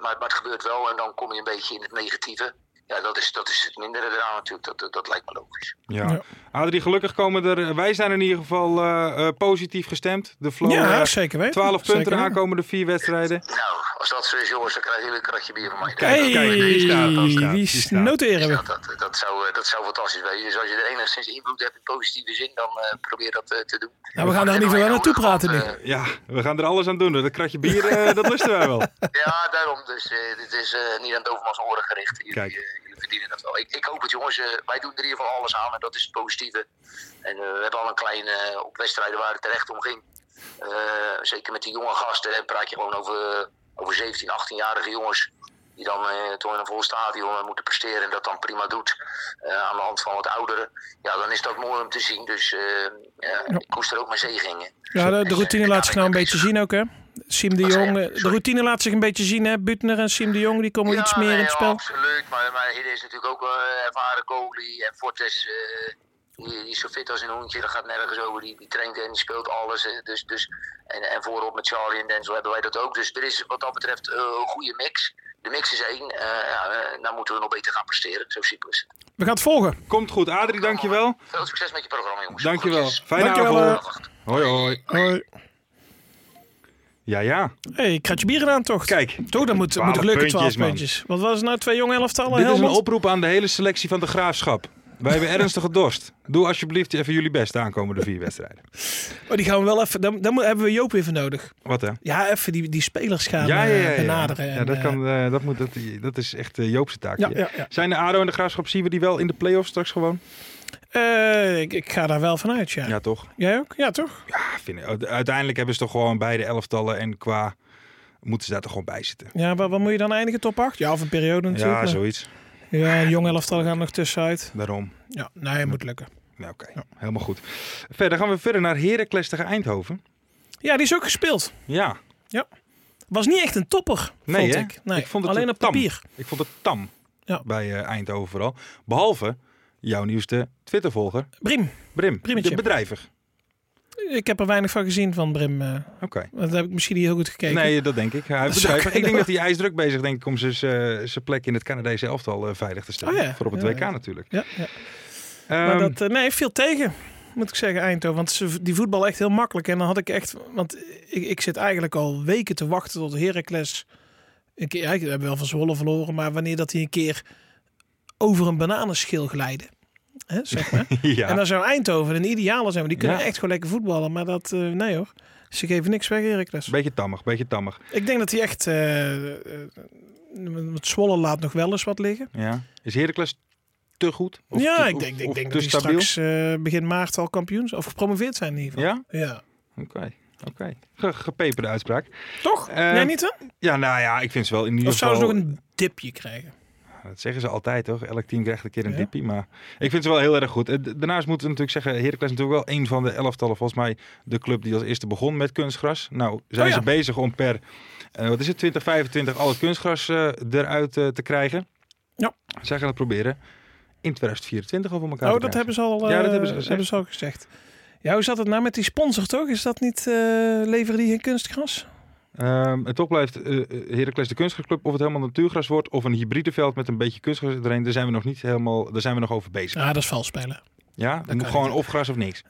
maar, maar het gebeurt wel en dan kom je een beetje in het negatieve. Ja, dat is, dat is het mindere eraan natuurlijk. Dat, dat, dat lijkt me logisch. Ja. Ja. Adrie, gelukkig komen er. Wij zijn in ieder geval eh, eh, positief gestemd. De flow. Ja, eh, zeker weten. 12 Zeker punten de weten. aankomende vier wedstrijden. Nou, als dat zo is, jongens, dan krijg je een kratje bier van mij. Kijk, kijk, die staat, die staat, wie die s- staat. noteren we? Ja, dat, dat, zou, eh, dat zou fantastisch zijn. Dus als je er enigszins invloed hebt in positieve zin, dan eh, probeer dat eh, te doen. Nou, we gaan daar in ieder geval wel naartoe praten, Nick. Eh, Ja, we gaan er alles aan doen. Dat kratje bier, eh, dat lusten wij wel. Ja, daarom. Dus eh, dit is eh, niet aan Dovermans oren gericht. Jullie, Kijk. eh, jullie verdienen dat wel. Ik, ik hoop het, jongens. Eh, wij doen er in ieder geval alles aan en dat is het positieve. En eh, we hebben al een klein eh, op wedstrijden waar het terecht om ging. Eh, zeker met die jonge gasten hè, praat je gewoon over, eh, over 17, 18-jarige jongens. Die dan eh, toch in een vol stadion eh, moeten presteren en dat dan prima doet. eh, aan de hand van wat ouderen. Ja, dan is dat mooi om te zien. Dus eh, ja, ik koester ook mijn zegeningen. Ja, de, de routine laat zich nou een beetje zien ook, hè? Siem de Wat zei Jong. je? eh, De Sorry. routine laat zich een beetje zien, hè? Butner en Siem de Jong, die komen iets meer nee, in het ja, spel. Absoluut, maar, maar hier is natuurlijk ook eh, ervaren Kohli en Fortes. eh, die, die is zo fit als een hoentje, dat gaat nergens over. Die, die traint en die speelt alles. eh, dus, dus, en, en voorop met Charlie en Denzel hebben wij dat ook. Dus er is wat dat betreft eh, een goede mix. De mix is één. eh ja, eh, nou moeten we nog beter gaan presteren. Zo simpel is het. We gaan het volgen. Komt goed. Adrie, dankjewel. Veel succes met je programma, jongens. Dankjewel. Groetjes. Fijne Dankjewel, avond. Wacht. Hoi, hoi. Ja, ja. hey, kratje bier aan toch? Kijk. Toch, dan moet, moet 12 het lukken, puntjes, 12 man. puntjes. Wat was het nou, twee jonge elftallen? Dit is een Helmond? oproep aan de hele selectie van de Graafschap. Wij hebben ernstige dorst. Doe alsjeblieft even jullie best de aankomende vier wedstrijden. Oh, die gaan we wel even... Dan, dan mo- hebben we Joop even nodig. Wat hè? Ja, even die, die spelers gaan eh, benaderen. Ja, en, dat, eh, kan, eh, dat, moet, dat, dat is echt eh, Joopse taak. Ja, hier. ja, ja. Zijn de ADO en de Graafschap, zien we die wel in de play-offs straks gewoon? Eh, ik, ik ga daar wel van uit, ja. Ja, toch? Jij ook? Ja, toch? Ja, vind ik- uiteindelijk hebben ze toch gewoon beide elftallen en qua moeten ze daar toch gewoon bij zitten. Ja, maar wat moet je dan eindigen? Top 8? Ja, of een periode natuurlijk. Ja, maar- zoiets. Ja, een jong elftal gaan er nog tussenuit. Daarom. Ja, nee, moet lukken. Ja, oké. Helemaal goed. Verder gaan we verder naar Heracles tegen Eindhoven. Ja, die is ook gespeeld. Ja. Was niet echt een topper, Nee, vond hè? ik. Nee, Ik vond het alleen een op tam. papier. Ik vond het tam Ja. bij eh, Eindhoven vooral. Behalve jouw nieuwste Twittervolger, Brim, Brim. Primmetje. De bedrijver. ik heb er weinig van gezien van Brim. eh, Oké. dat heb ik misschien niet heel goed gekeken. Nee, dat denk ik. Hij zou is bedrijver. Ik kunnen. denk dat hij ijsdruk bezig denk ik, om zijn, eh, zijn plek in het Canadese elftal eh, veilig te stellen. Oh ja. Voor op het Ja, WK ja. natuurlijk. Ja, ja. Ehm, Maar dat, eh, nee, viel tegen, moet ik zeggen, Eindhoven. Want ze, die voetbal echt heel makkelijk. En dan had ik echt, want ik, ik zit eigenlijk al weken te wachten tot Heracles. Een keer, ja, ik heb wel van Zwolle verloren, maar wanneer dat hij een keer over een bananenschil glijden. Hè, zeg maar. ja. En dan zou Eindhoven een ideale zijn, want die kunnen Ja. echt gewoon lekker voetballen. Maar dat, eh, nee hoor. Ze geven niks weg, Heracles. Beetje tammig, beetje tammig. Ik denk dat hij echt, eh, eh, want Zwolle laat nog wel eens wat liggen. Ja. Is Heracles te goed? Of ja, te- ik of- denk, ik of denk te dat die stabiel? straks eh, begin maart al kampioens of gepromoveerd zijn in ieder geval. Ja? Oké. Oké, Ge- gepeperde uitspraak. Toch? Eh, Jij niet hè? Ja, nou ja, ik vind ze wel in ieder Of geval... zouden ze nog een dipje krijgen? Dat zeggen ze altijd, toch? Elk team krijgt een keer een Ja. dippie, maar ik vind ze wel heel erg goed. Eh, d- Daarnaast moeten we natuurlijk zeggen, Heracles is natuurlijk wel een van de elftallen, volgens mij de club die als eerste begon met kunstgras. Nou, zijn Oh ja. ze bezig om per, eh, wat is het, 2025 al het kunstgras eh, eruit eh, te krijgen. Ja. Zij gaan het proberen in 2024 al voor elkaar Oh, te dat krijgen. hebben ze al, eh, Ja, dat hebben ze gezegd. al gezegd. Ja, hoe zat het nou met die sponsor toch? Is dat niet eh, leveren die geen kunstgras? Ehm, en toch blijft eh eh, Heracles de kunstgrasclub. Of het helemaal natuurgras wordt of een hybride veld met een beetje kunstgras erin. Daar zijn we nog niet helemaal, daar zijn we nog over bezig. Ja, Ah, dat is vals spelen. Ja, kan moet ik gewoon niet. of gras of niks.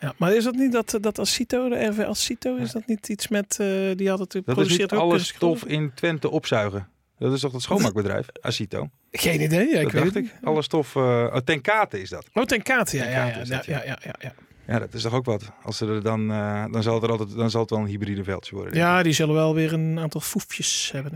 Ja, maar is dat niet dat, eh, dat Asito, de RV Asito, is dat niet iets met, eh, die had het Dat is produceert niet ook alle kunstgras? stof in Twente opzuigen. Dat is toch dat schoonmaakbedrijf, Acito? Geen idee, ja, ik dat weet dacht het ik. Alle stof, eh oh, Tenkate is dat. niet. Oh, ten Kate, ja, Ten ja, Kate ja, is ja, dat, ja, ja. ja, ja, ja. Ja, dat is toch ook wat. Als ze er dan, eh, dan, zal het er altijd, dan zal het wel een hybride veldje worden. denk ik. Ja, die zullen wel weer een aantal foefjes hebben.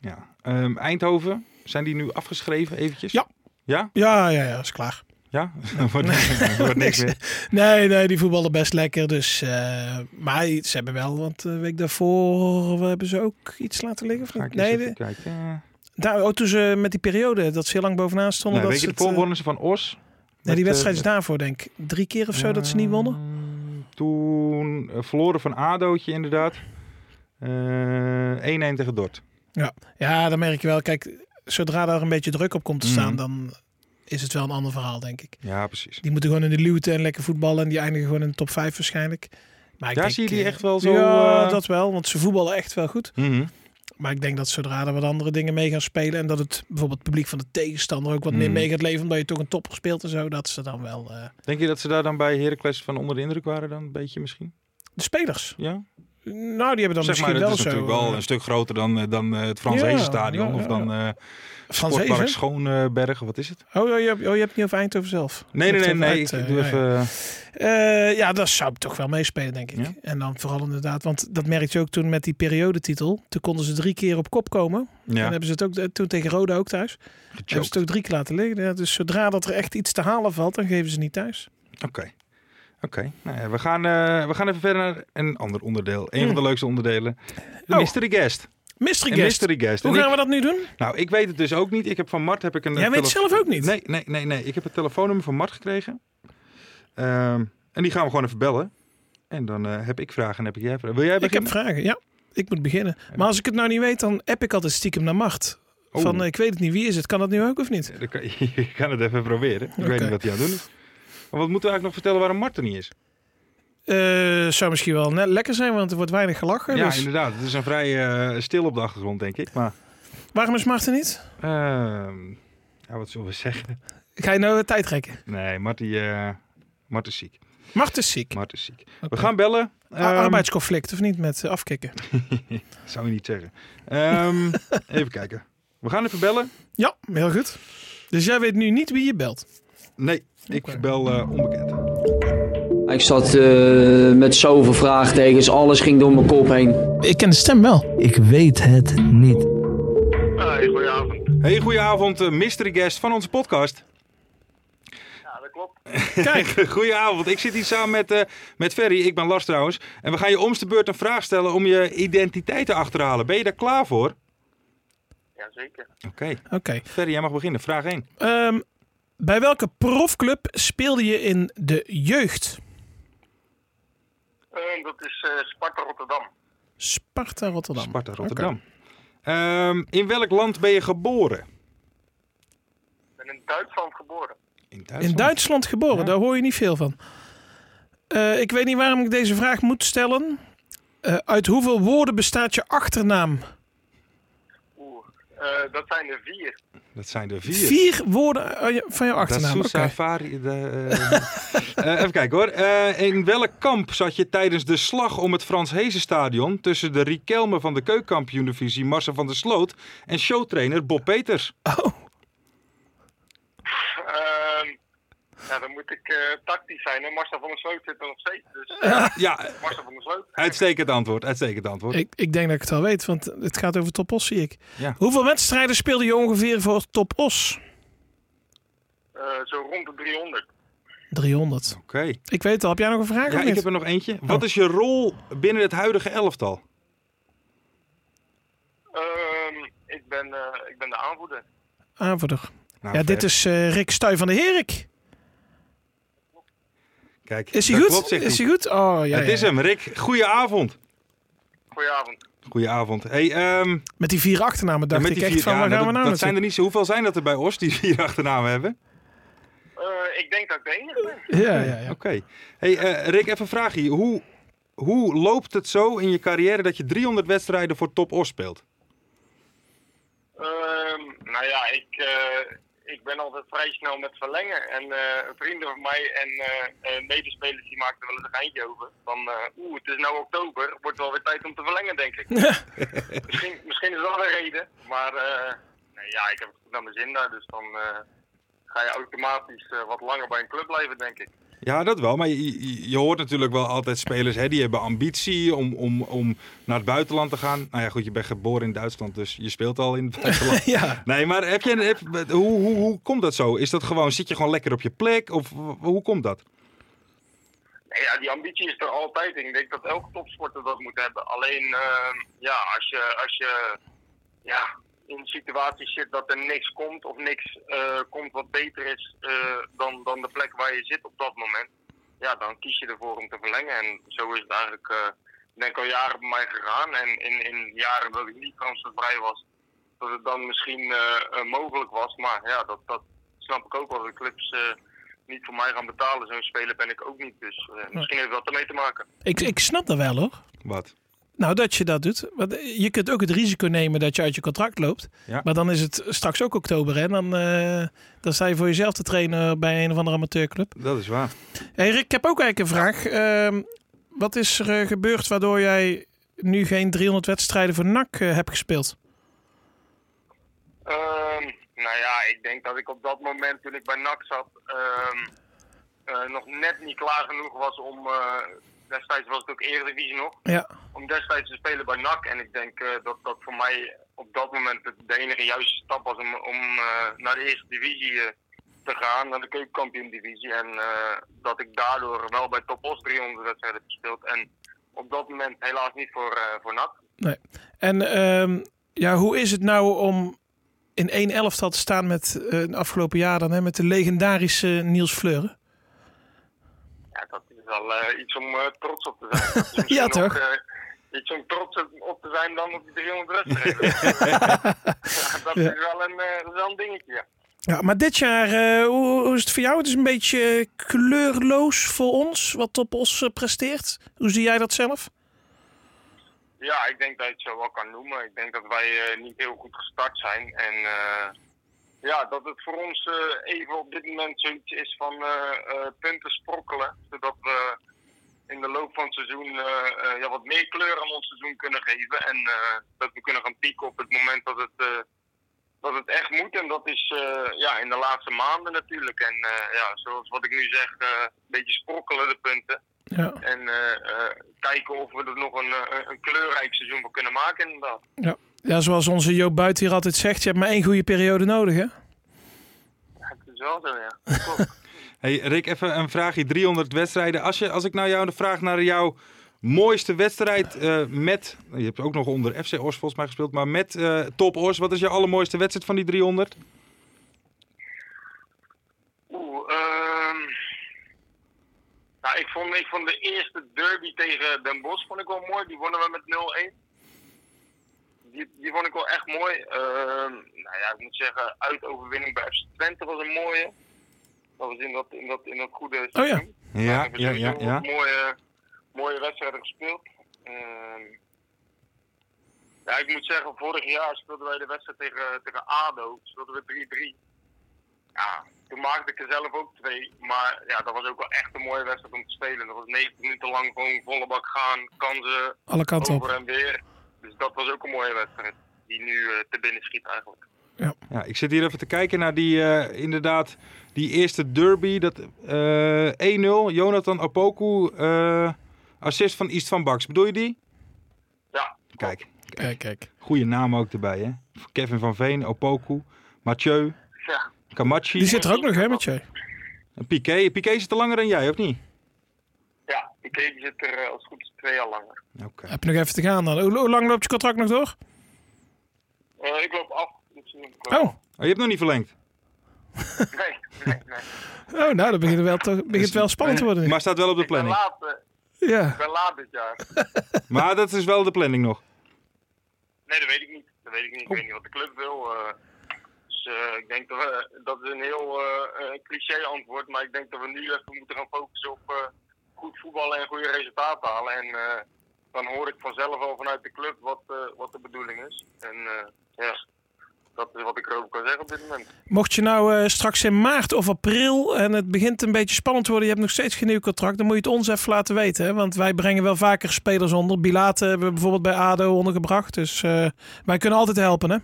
Hè? ja. Ehm, Eindhoven, zijn die nu afgeschreven eventjes? Ja. Ja? Ja, ja, ja, is klaar. Ja? wordt, niks- wordt niks meer. Nee, nee, die voetballen best lekker. Dus, eh, maar ze hebben wel, want de week daarvoor hebben ze ook iets laten liggen. Of Ga niet? ik eens Nee, even de- kijken. Eh, daar, oh, toen ze met die periode, dat ze heel lang bovenaan stonden. nee, dat weet je, ze de het, eh, voorwonnen ze van Os. nee, Met, die eh, wedstrijd is daarvoor, denk ik. Drie keer of zo dat Ah. ze niet wonnen. Ehm, Toen eh, verloren van Adootje inderdaad. Eh, 1-1 tegen Dort. Ja, dan merk je wel. Kijk, zodra daar een beetje druk op komt te staan, Mhm. dan is het wel een ander verhaal, denk ik. Ja, precies. Die moeten gewoon in de luwte en lekker voetballen. En die eindigen gewoon in de top 5 waarschijnlijk. Maar ik Daar denk, zie je die eh, echt wel zo, Ja, eh, dat wel. Want ze voetballen echt wel goed. Mhm. Maar ik denk dat zodra er wat andere dingen mee gaan spelen en dat het bijvoorbeeld het publiek van de tegenstander ook wat meer Hmm. mee gaat leven, omdat je toch een topper speelt en zo, dat ze dan wel eh, Denk je dat ze daar dan bij Heracles van onder de indruk waren dan een beetje misschien? de spelers. Ja? Nou, die hebben dan zeg misschien maar, dat wel is zo. natuurlijk wel eh, een stuk groter dan, eh, dan eh, het Frans Ja, Hezenstadion. ja, Of ja, dan eh Frans Sportpark Hezen. Schoonberg, of wat is het? Oh, oh, je, hebt- oh, je hebt het niet over Eindhoven zelf. Nee, nee, Je nee. hebt het nee over uit, ik doe eh, ja, even... eh, ja. Eh, ja, dat zou toch wel meespelen, denk ik. Ja. En dan vooral inderdaad, want dat merkte je ook toen met die periodetitel. Toen konden ze drie keer op kop komen. En ja, hebben ze het ook eh, toen tegen Roda ook thuis. Hebben ze gechoked. het ook drie keer laten liggen. Ja, dus zodra dat er echt iets te halen valt, dan geven ze niet thuis. Oké. Oké, nou ja, we, gaan, eh, we gaan even verder naar een ander onderdeel. Een van de leukste onderdelen. De Hmm. Oh. Mystery Guest. Mystery Een Guest. Mystery Guest. Hoe En ik- gaan we dat nu doen? Nou, ik weet het dus ook niet. Ik heb van Mart heb ik een. Jij weet het tele- zelf ook niet? Nee, nee, nee, nee. Ik heb het telefoonnummer van Mart gekregen. Ehm, en die gaan we gewoon even bellen. En dan eh, heb ik vragen en heb ik jij vragen. Wil jij Ik heb beginnen? vragen, ja. Ik moet beginnen. Maar als ik het nou niet weet, dan app ik altijd stiekem naar macht. Oh. Van, eh, ik weet het niet, wie is het? Kan dat nu ook of niet? Dan kan, je kan het even proberen. Ik Oké. weet niet wat hij aan het doen is. Maar wat moeten we eigenlijk nog vertellen waarom Mart er niet is? Eh zou misschien wel net lekker zijn, want er wordt weinig gelachen. Ja, dus- inderdaad. Het is een vrij eh, stil op de achtergrond, denk ik. Maar Waarom is Marten niet? ehm, ja, wat zullen we zeggen? Ga je nou eh, tijd rekken? Nee, Mart, die, eh, Mart is ziek. Macht is ziek. Mart is ziek. We Oké. gaan bellen. A- Ehm, arbeidsconflict, of niet? Met eh, afkicken. Zou je niet zeggen. Ehm, even kijken. We gaan even bellen. Ja, heel goed. Dus jij weet nu niet wie je belt. Nee, ik Oké. bel eh, onbekend. Ik zat eh, met zoveel vraagtekens, alles ging door mijn kop heen. Ik ken de stem wel. Ik weet het niet. Hey, goedenavond. Hey, goedenavond, eh mystery guest van onze podcast. Ja, dat klopt. Kijk, Goedenavond, ik zit hier samen met, eh, met Ferry. Ik ben Lars trouwens. En we gaan je omste beurt een vraag stellen om je identiteit te achterhalen. Ben je daar klaar voor? Oké. Jazeker. oké. Ferry, jij mag beginnen. Vraag 1. Ehm, bij welke profclub speelde je in de jeugd? Eh, dat is eh, Sparta Rotterdam. Sparta Rotterdam. Sparta, Rotterdam. Ehm, in welk land ben je geboren? Ik ben in Duitsland geboren. In Oké. In Duitsland geboren, daar hoor je niet veel van. Eh, ik weet niet waarom ik deze vraag moet stellen. Eh, uit hoeveel woorden bestaat je achternaam? Oeh, eh, dat zijn er vier. Dat zijn er vier. Vier woorden eh, van jouw Dat is achternaam. Sousa oké. Fari- de, eh, eh, even kijken hoor. Eh, in welk kamp zat je tijdens de slag om het Frans Hezenstadion tussen de Riquelme van de Keukenkampioen-divisie Marcel van der Sloot en showtrainer Bob Peters? Oh, Ehm, ja, dan moet ik eh, tactisch zijn. En Marcel van der Sloot zit er nog steeds. Dus Ja, Marcel van der Sloot. uitstekend antwoord. Uitstekend antwoord. ik, ik denk dat ik het al weet, want het gaat over Top Os, zie ik. Ja. Hoeveel wedstrijden speelde je ongeveer voor Top Os? eh, zo rond de 300. 300. Oké. Ik weet het Oh. al. Heb jij nog een vraag Ja, of ik niet? heb er nog eentje. Wat is je rol binnen het huidige elftal? Ehm, ik, ben, eh, ik ben de aanvoerder. Aanvoerder. Nou, Ja, dit ver. is eh, Rick Stuy van de Herik. Kijk, Is hij dat goed? klopt, zegt is hij. hij goed? Oh, ja, Het ja. is hem, Rick. Goedenavond. Goedenavond. Goedenavond. Hey, ehm, Met die vier achternamen dacht met ik die echt vier, van, ja, waar nou, gaan we dat, nou dat zijn er naartoe? niet zo. Hoeveel zijn dat er bij Os die vier achternamen hebben? Eh, ik denk dat ik de enige ben. Ja, ja, ja. Oké. Hey, eh, Rick, even een vraagje. Hoe, hoe loopt het zo in je carrière dat je 300 wedstrijden voor Top Os speelt? Ehm, nou ja, ik, eh, ik ben altijd vrij snel met verlengen. En eh, vrienden van mij en eh, eh, medespelers die maakten wel eens een geintje over. Van, eh, oeh, het is nou oktober. Het wordt wel weer tijd om te verlengen, denk ik. misschien, misschien is dat een reden. Maar eh, nee, ja, ik heb het goed naar mijn zin daar. Dus dan eh, ga je automatisch eh, wat langer bij een club blijven, denk ik. Ja, dat wel. Maar je, je- je hoort natuurlijk wel altijd spelers hè, die hebben ambitie om, om, om naar het buitenland te gaan. Nou ja, goed, je bent geboren in Duitsland, dus je speelt al in het buitenland. Ja. Nee, maar heb je, heb, hoe, hoe, hoe komt dat zo? Is dat gewoon, zit je gewoon lekker op je plek? Of w- hoe komt dat? Nee, ja, die ambitie is er altijd. Ik denk dat elke topsporter dat moet hebben. Alleen, ehm, ja, als je, als je ja, in situaties zit dat er niks komt of niks eh, komt wat beter is eh, dan, dan de plek waar je zit op dat moment, ja, dan kies je ervoor om te verlengen. En zo is het eigenlijk, eh, ik denk al jaren bij mij gegaan. En in, in jaren dat ik niet transfervrij was, dat het dan misschien eh, eh, mogelijk was. Maar ja, dat, dat snap ik ook wel. De clubs eh, niet voor mij gaan betalen. Zo'n speler ben ik ook niet. Dus eh, misschien heeft dat ermee te maken. Ik, ik snap dat wel, hoor. Wat? Nou, dat je dat doet. Want eh, je kunt ook het risico nemen dat je uit je contract loopt. Ja. Maar dan is het straks ook oktober, hè. Dan, eh, dan sta je voor jezelf te trainen bij een of andere amateurclub. Dat is waar. Hey Rick, ik heb ook eigenlijk een vraag. Ehm, wat is er eh, gebeurd waardoor jij nu geen 300 wedstrijden voor NAC eh, hebt gespeeld? Ehm, nou ja, ik denk dat ik op dat moment toen ik bij NAC zat ehm, eh, nog net niet klaar genoeg was om. eh, destijds was het ook Eredivisie nog. Ja. Om destijds te spelen bij NAC. En ik denk eh, dat dat voor mij op dat moment de- de enige juiste stap was om, om eh, naar de eerste divisie eh, te gaan, naar de keukenkampioen divisie. En eh, dat ik daardoor wel bij Top Os 300 wedstrijden heb gespeeld. En op dat moment helaas niet voor, eh, voor NAC. Nee. En ehm, ja, hoe is het nou om in één elftal te staan met eh, het afgelopen jaar dan, hè, met de legendarische Niels Fleuren? Ja, dat is wel eh, iets om eh, trots op te zijn. Dat is misschien Ja, nog, toch? eh, iets om trots op- op te zijn dan op die 300 wedstrijden. ja, dat is wel een, eh, dat is wel een dingetje, ja. Ja, maar dit jaar, eh, hoe, hoe is het voor jou? Het is een beetje eh, kleurloos voor ons, wat Top Os eh, presteert. Hoe zie jij dat zelf? Ja, ik denk dat je het zo wel kan noemen. Ik denk dat wij eh, niet heel goed gestart zijn. En eh, ja, dat het voor ons eh, even op dit moment zoiets is van eh, eh, punten sprokkelen. Zodat we in de loop van het seizoen eh, eh, ja, wat meer kleur aan ons seizoen kunnen geven. En eh, dat we kunnen gaan pieken op het moment dat het, eh, dat het echt moet. En dat is eh, ja, in de laatste maanden natuurlijk. En eh, ja, zoals wat ik nu zeg, eh, een beetje sprokkelen de punten. Ja, En eh, eh, kijken of we er nog een, eh, een kleurrijk seizoen van kunnen maken inderdaad. ja. ja zoals onze Joop Buiten hier altijd zegt, je hebt maar één goede periode nodig, hè? Ja, het is wel zo, ja. Klopt. Hey, Rick, even een vraagje. 300 wedstrijden. Als, je, als ik nou jou de vraag naar jouw mooiste wedstrijd eh, met... Je hebt ook nog onder FC Ors volgens mij gespeeld. Maar met eh, Top Ors. Wat is jouw allermooiste wedstrijd van die 300? Oeh, ehm nou, ik vond, ik vond de eerste derby tegen Den Bosch vond ik wel mooi. Die wonnen we met 0-1. Die, die vond ik wel echt mooi. Ehm, nou ja, ik moet zeggen, uitoverwinning bij FC Twente was een mooie. Dat was in dat, in dat, in dat goede ja. seizoen. Ja, Maar we ja, hebben ja, sowieso ja. Mooie, mooie wedstrijden gespeeld. Ehm, ja, ik moet zeggen, vorig jaar speelden wij de wedstrijd tegen, tegen ADO. Speelden we 3-3. Ja, toen maakte ik er zelf ook twee. Maar ja, dat was ook wel echt een mooie wedstrijd om te spelen. Dat was 90 minuten lang gewoon volle bak gaan. Kansen Alle kanten over op. en weer. Dus dat was ook een mooie wedstrijd. Die nu eh, te binnen schiet eigenlijk. Ja, ik zit hier even te kijken naar die, eh, inderdaad, die eerste derby. Dat, eh, 1-0, Jonathan Apoku, eh, assist van Istvan Baks. Bedoel je die? Ja, Kijk, Kijk, kijk. goede naam ook erbij, hè? Kevin van Veen, Opoku, Mathieu, ja. Die Kamachi, zit er ook nog, hè, met jij? Piqué. Piqué zit er langer dan jij, of niet? ja die keek zit er eh, als het goed is twee jaar langer. Oké. Heb je nog even te gaan dan? Hoe, hoe lang loopt je contract nog door? Eh, ik loop af. dit seizoen. Oh, Oh, je hebt nog niet verlengd. Nee, nee, nee. oh nou, dan begint het wel, te- begint het wel spannend te worden. nu. Eh, Maar staat wel op de Ik ben planning. laat, eh, Ja. ik ben laat dit jaar. Maar dat is wel de planning nog. Nee, dat weet ik niet. Dat weet ik niet. Ik weet niet wat de club wil. eh. dus eh, ik denk dat we, dat is een heel eh, eh, cliché antwoord, maar ik denk dat we nu even moeten gaan focussen op eh, goed voetballen en goede resultaten halen. En eh, dan hoor ik vanzelf al vanuit de club wat, eh, wat de bedoeling is. En eh, ja, dat is wat ik erover kan zeggen op dit moment. Mocht je nou eh, straks in maart of april en het begint een beetje spannend te worden, je hebt nog steeds geen nieuw contract, dan moet je het ons even laten weten. Hè? Want wij brengen wel vaker spelers onder. Bilate hebben we bijvoorbeeld bij ADO ondergebracht. Dus eh, wij kunnen altijd helpen, hè?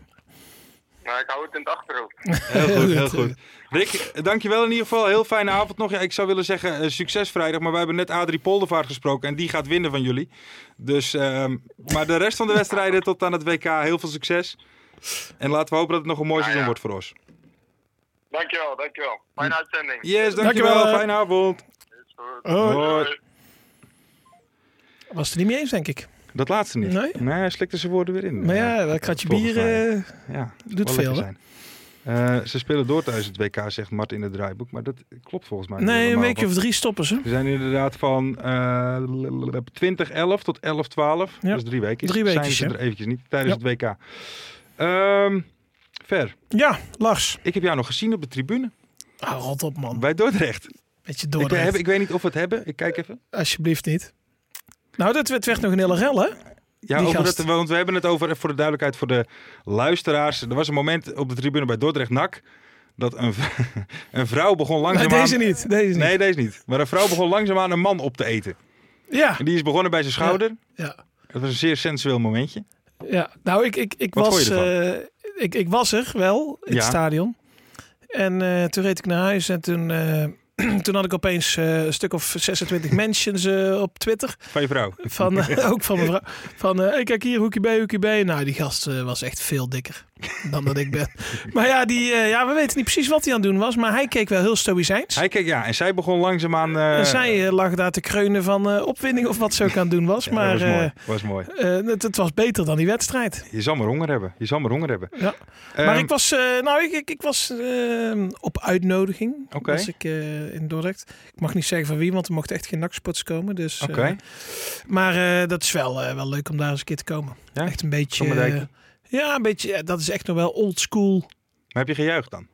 Maar ik hou het in het achterhoofd. Heel goed, heel goed. Rick, dankjewel in ieder geval. Heel fijne avond nog. Ja, ik zou willen zeggen eh, succes vrijdag, maar wij hebben net Adrie Poldervaart gesproken en die gaat winnen van jullie. Dus, ehm, maar de rest van de wedstrijden tot aan het WK, heel veel succes. En laten we hopen dat het nog een mooi seizoen wordt voor ons. Dankjewel, dankjewel. Fijne uitzending. Yes, dankjewel. Dankjewel. Fijne avond. Is goed. Hoi. Was het er niet mee eens, denk ik. Dat laatste niet. Nee? hij slikte zijn woorden weer in. Maar ja, dat kratje Volgens bier mij. eh, Ja, doet wel veel, lekker hè? zijn. Eh, ze spelen door tijdens het WK, zegt Mart in het draaiboek. Maar dat klopt volgens mij niet Nee, een helemaal, weekje want of drie stoppen ze. We zijn inderdaad van eh 2011 tot 1112. Ja, Dus drie weken. drie Zijn weekjes, ze hè? er eventjes niet tijdens het WK. Ehm, Ver, Ja, Lars. ik heb jou nog gezien op de tribune Ah, rot op, man. bij Dordrecht. Beetje Ik, Dordrecht. heb, ik weet niet of we het hebben. Ik kijk even. Alsjeblieft niet. Nou, dat werd, werd nog een hele rel, hè? Ja, Die over gast. dat, want we hebben het over, voor de duidelijkheid voor de luisteraars. Er was een moment op de tribune bij Dordrecht-Nak dat een, v- een vrouw begon Nee, langzaamaan... deze niet. Deze niet. Nee, deze niet. Maar een vrouw begon langzaamaan een man op te eten. Ja, En die is begonnen bij zijn schouder. ja. Dat was een zeer sensueel momentje. Ja, nou, ik, ik, ik, Wat vond was, je eh, ik, ik was er wel in Ja. het stadion. En eh, toen reed ik naar huis en toen, eh, toen had ik opeens eh, een stuk of 26 mentions eh, op Twitter. Van je vrouw. Van, eh, ook van mevrouw. Van, eh, hey, kijk hier, hoekje B, hoekje B. Nou, die gast eh, was echt veel dikker dan dat ik ben. Maar ja, die, eh, ja, we weten niet precies wat hij aan het doen was. Maar hij keek wel heel stoïcijns. Hij keek, ja, en zij begon langzaamaan... eh en zij eh, lag daar te kreunen van eh, opwinding of wat ze ook aan het doen was. ja, maar dat was eh, mooi. was mooi. eh, het, het was beter dan die wedstrijd. Je zal maar honger hebben. Je zal maar honger hebben. Ja. Ehm, maar ik was, eh, nou, ik, ik, ik was eh, op uitnodiging. Oké. Was ik eh, in Dordrecht. Ik mag niet zeggen van wie, want er mochten echt geen nachtsports komen. Dus, Oké. eh, maar eh, dat is wel, eh, wel leuk om daar eens een keer te komen. Ja? Echt een beetje. Sommerdijkje? eh, ja, een beetje. eh, dat is echt nog wel old school. Maar heb je gejuicht dan?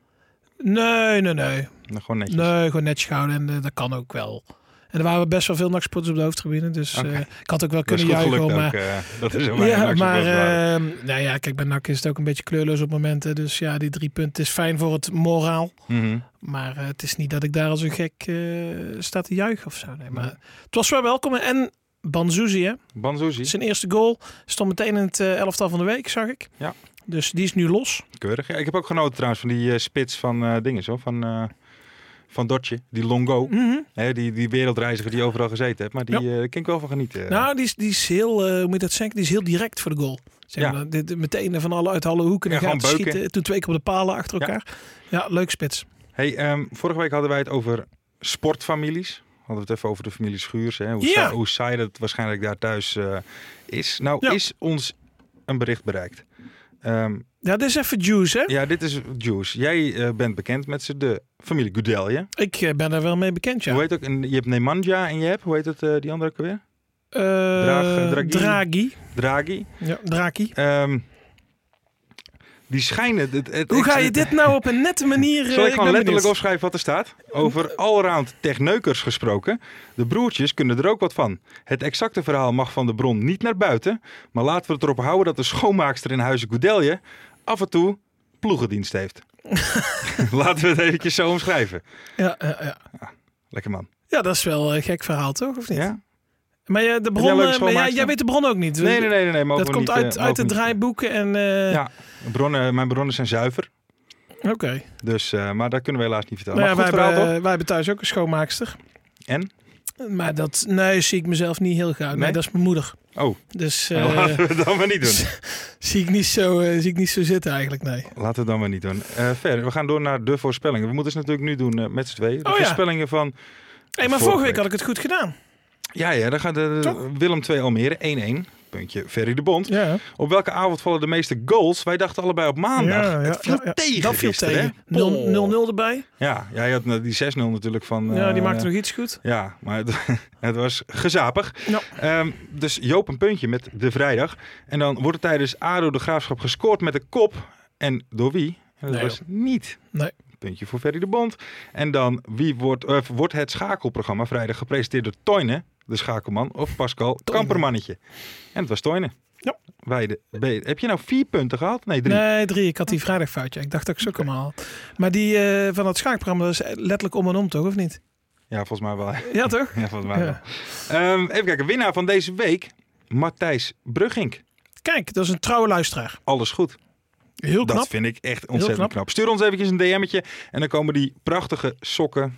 Nee, nee, nee. Nou, gewoon netjes. Nee, gewoon netjes houden en eh, dat kan ook wel. En er waren best wel veel nachtsporters op de hoofdtribune. Dus Oké. eh, ik had ook wel dat is kunnen goed juichen. gelukt hoor, Maar, ook. eh, dat is een ja, weinig maar actie- eh, nou ja, kijk, bij NAC is het ook een beetje kleurloos op momenten. Dus ja, die drie punten is fijn voor het moraal. Mhm. Maar eh, het is niet dat ik daar als een gek eh, sta te juichen of zo. Nee, maar het was wel welkom. En Banzuzi, hè? Banzuzi, zijn eerste goal stond meteen in het eh, elftal van de week, zag ik. Ja. Dus die is nu los. keurig. Ja, ik heb ook genoten trouwens van die eh, spits van eh dingen zo, van, eh van Dotje, die Longo. Mhm. Hè, die, die wereldreiziger die overal gezeten heeft, maar die eh, daar kan ik wel van genieten. Nou, die is, die is heel, eh, hoe moet je dat zeggen? Die is heel direct voor de goal. Zeg Ja. maar, dit, meteen van alle uit alle hoeken en Ja, gaten gewoon beuken. schieten. Toen twee keer op de palen achter Ja. elkaar. Ja, leuk spits. Hey, ehm, vorige week hadden wij het over sportfamilies. Hadden we het even over de familie Schuurs. Hè? Hoe, Ja. saai, hoe saai dat waarschijnlijk daar thuis eh, is. Nou, Ja. is ons een bericht bereikt. Ehm, Ja, dit is even juice, hè? ja, dit is Juice. Jij eh, bent bekend met ze, de familie Goudelje. Ik eh, ben er wel mee bekend, ja. Hoe heet ook, en je hebt Nemanja en je hebt, hoe heet het, eh, die andere ook alweer? Eh, Draag- Draghi? Draghi. Draghi. Ja, Draghi. Ehm, die schijnen... Het, het, Hoe ga je het- dit nou op een nette manier... eh, Zal ik ben gewoon letterlijk benieuwd. opschrijven wat er staat? Over allround techneukers gesproken. De broertjes kunnen er ook wat van. Het exacte verhaal mag van de bron niet naar buiten. Maar laten we het erop houden dat de schoonmaakster in huizen Goudelje af en toe ploegendienst heeft. laten we het eventjes zo omschrijven. Ja, ja, ja. Lekker man. ja, dat is wel een gek verhaal, toch? Of niet? Ja? Maar eh, de jij bron, leuke eh, maar jij, schoonmaakster? jij weet de bron ook niet. Nee, nee, nee. nee, nee mogen Dus Dat we komt uit, niet, eh, uit de mogen we niet. draaiboeken en... eh, Ja, bronnen, mijn bronnen zijn zuiver. Oké. Dus, eh, maar dat kunnen we helaas niet vertellen. Nou ja, wij, maar goed verhaal hebben, toch? eh, wij hebben thuis ook een schoonmaakster. En? Maar dat nee, zie ik mezelf niet heel gauw. Nee, Nee? dat is mijn moeder. Oh, Dus nou, eh, laten we het dan maar niet doen. zie, ik niet zo, eh, zie ik niet zo zitten eigenlijk, nee. Laten we het dan maar niet doen. Eh, verder, we gaan door naar de voorspellingen. We moeten ze natuurlijk nu doen eh, met z'n tweeën. De Oh ja. voorspellingen van... Hey, maar Vorige vorige week week. had ik het goed gedaan. Ja, ja, dan gaat de, Toch? Willem 2 Almere 1-1. Puntje Ferry de Bond. Ja, Op welke avond vallen de meeste goals? Wij dachten allebei op maandag. Ja, ja, het viel ja, ja. tegen dat viel gisteren, tegen. hè? Oh. Poh. 0-0 erbij. Ja, jij had eh, die 6-0 natuurlijk van... ja, die eh, maakte nog iets goed. Ja, maar het, het was gezapig. Ja. Ehm, dus Joop een puntje met de vrijdag. En dan wordt er tijdens ADO de Graafschap gescoord met de kop. En door wie? En dat Nee, was niet. Nee. Puntje voor Ferry de Bond. En dan, wie wordt, eh, wordt het schakelprogramma vrijdag gepresenteerd door Toyne, de schakelman, of Pascal Kampermannetje? En het was Toyne. Ja. Weide, B. Heb je nou vier punten gehad? Nee, drie. Nee, drie. Ik had die vrijdag foutje. Ik dacht dat ik ze ook allemaal had. Maar die eh, van dat schaakprogramma, dat is letterlijk om en om, toch? Of niet? Ja, volgens mij wel. Ja, toch? Ja, volgens mij Ja. wel. Ehm, even kijken, winnaar van deze week, Matthijs Bruggink. Kijk, dat is een trouwe luisteraar. Alles goed. Heel knap. Dat vind ik echt ontzettend knap. knap. Stuur ons eventjes een DM'tje en dan komen die prachtige sokken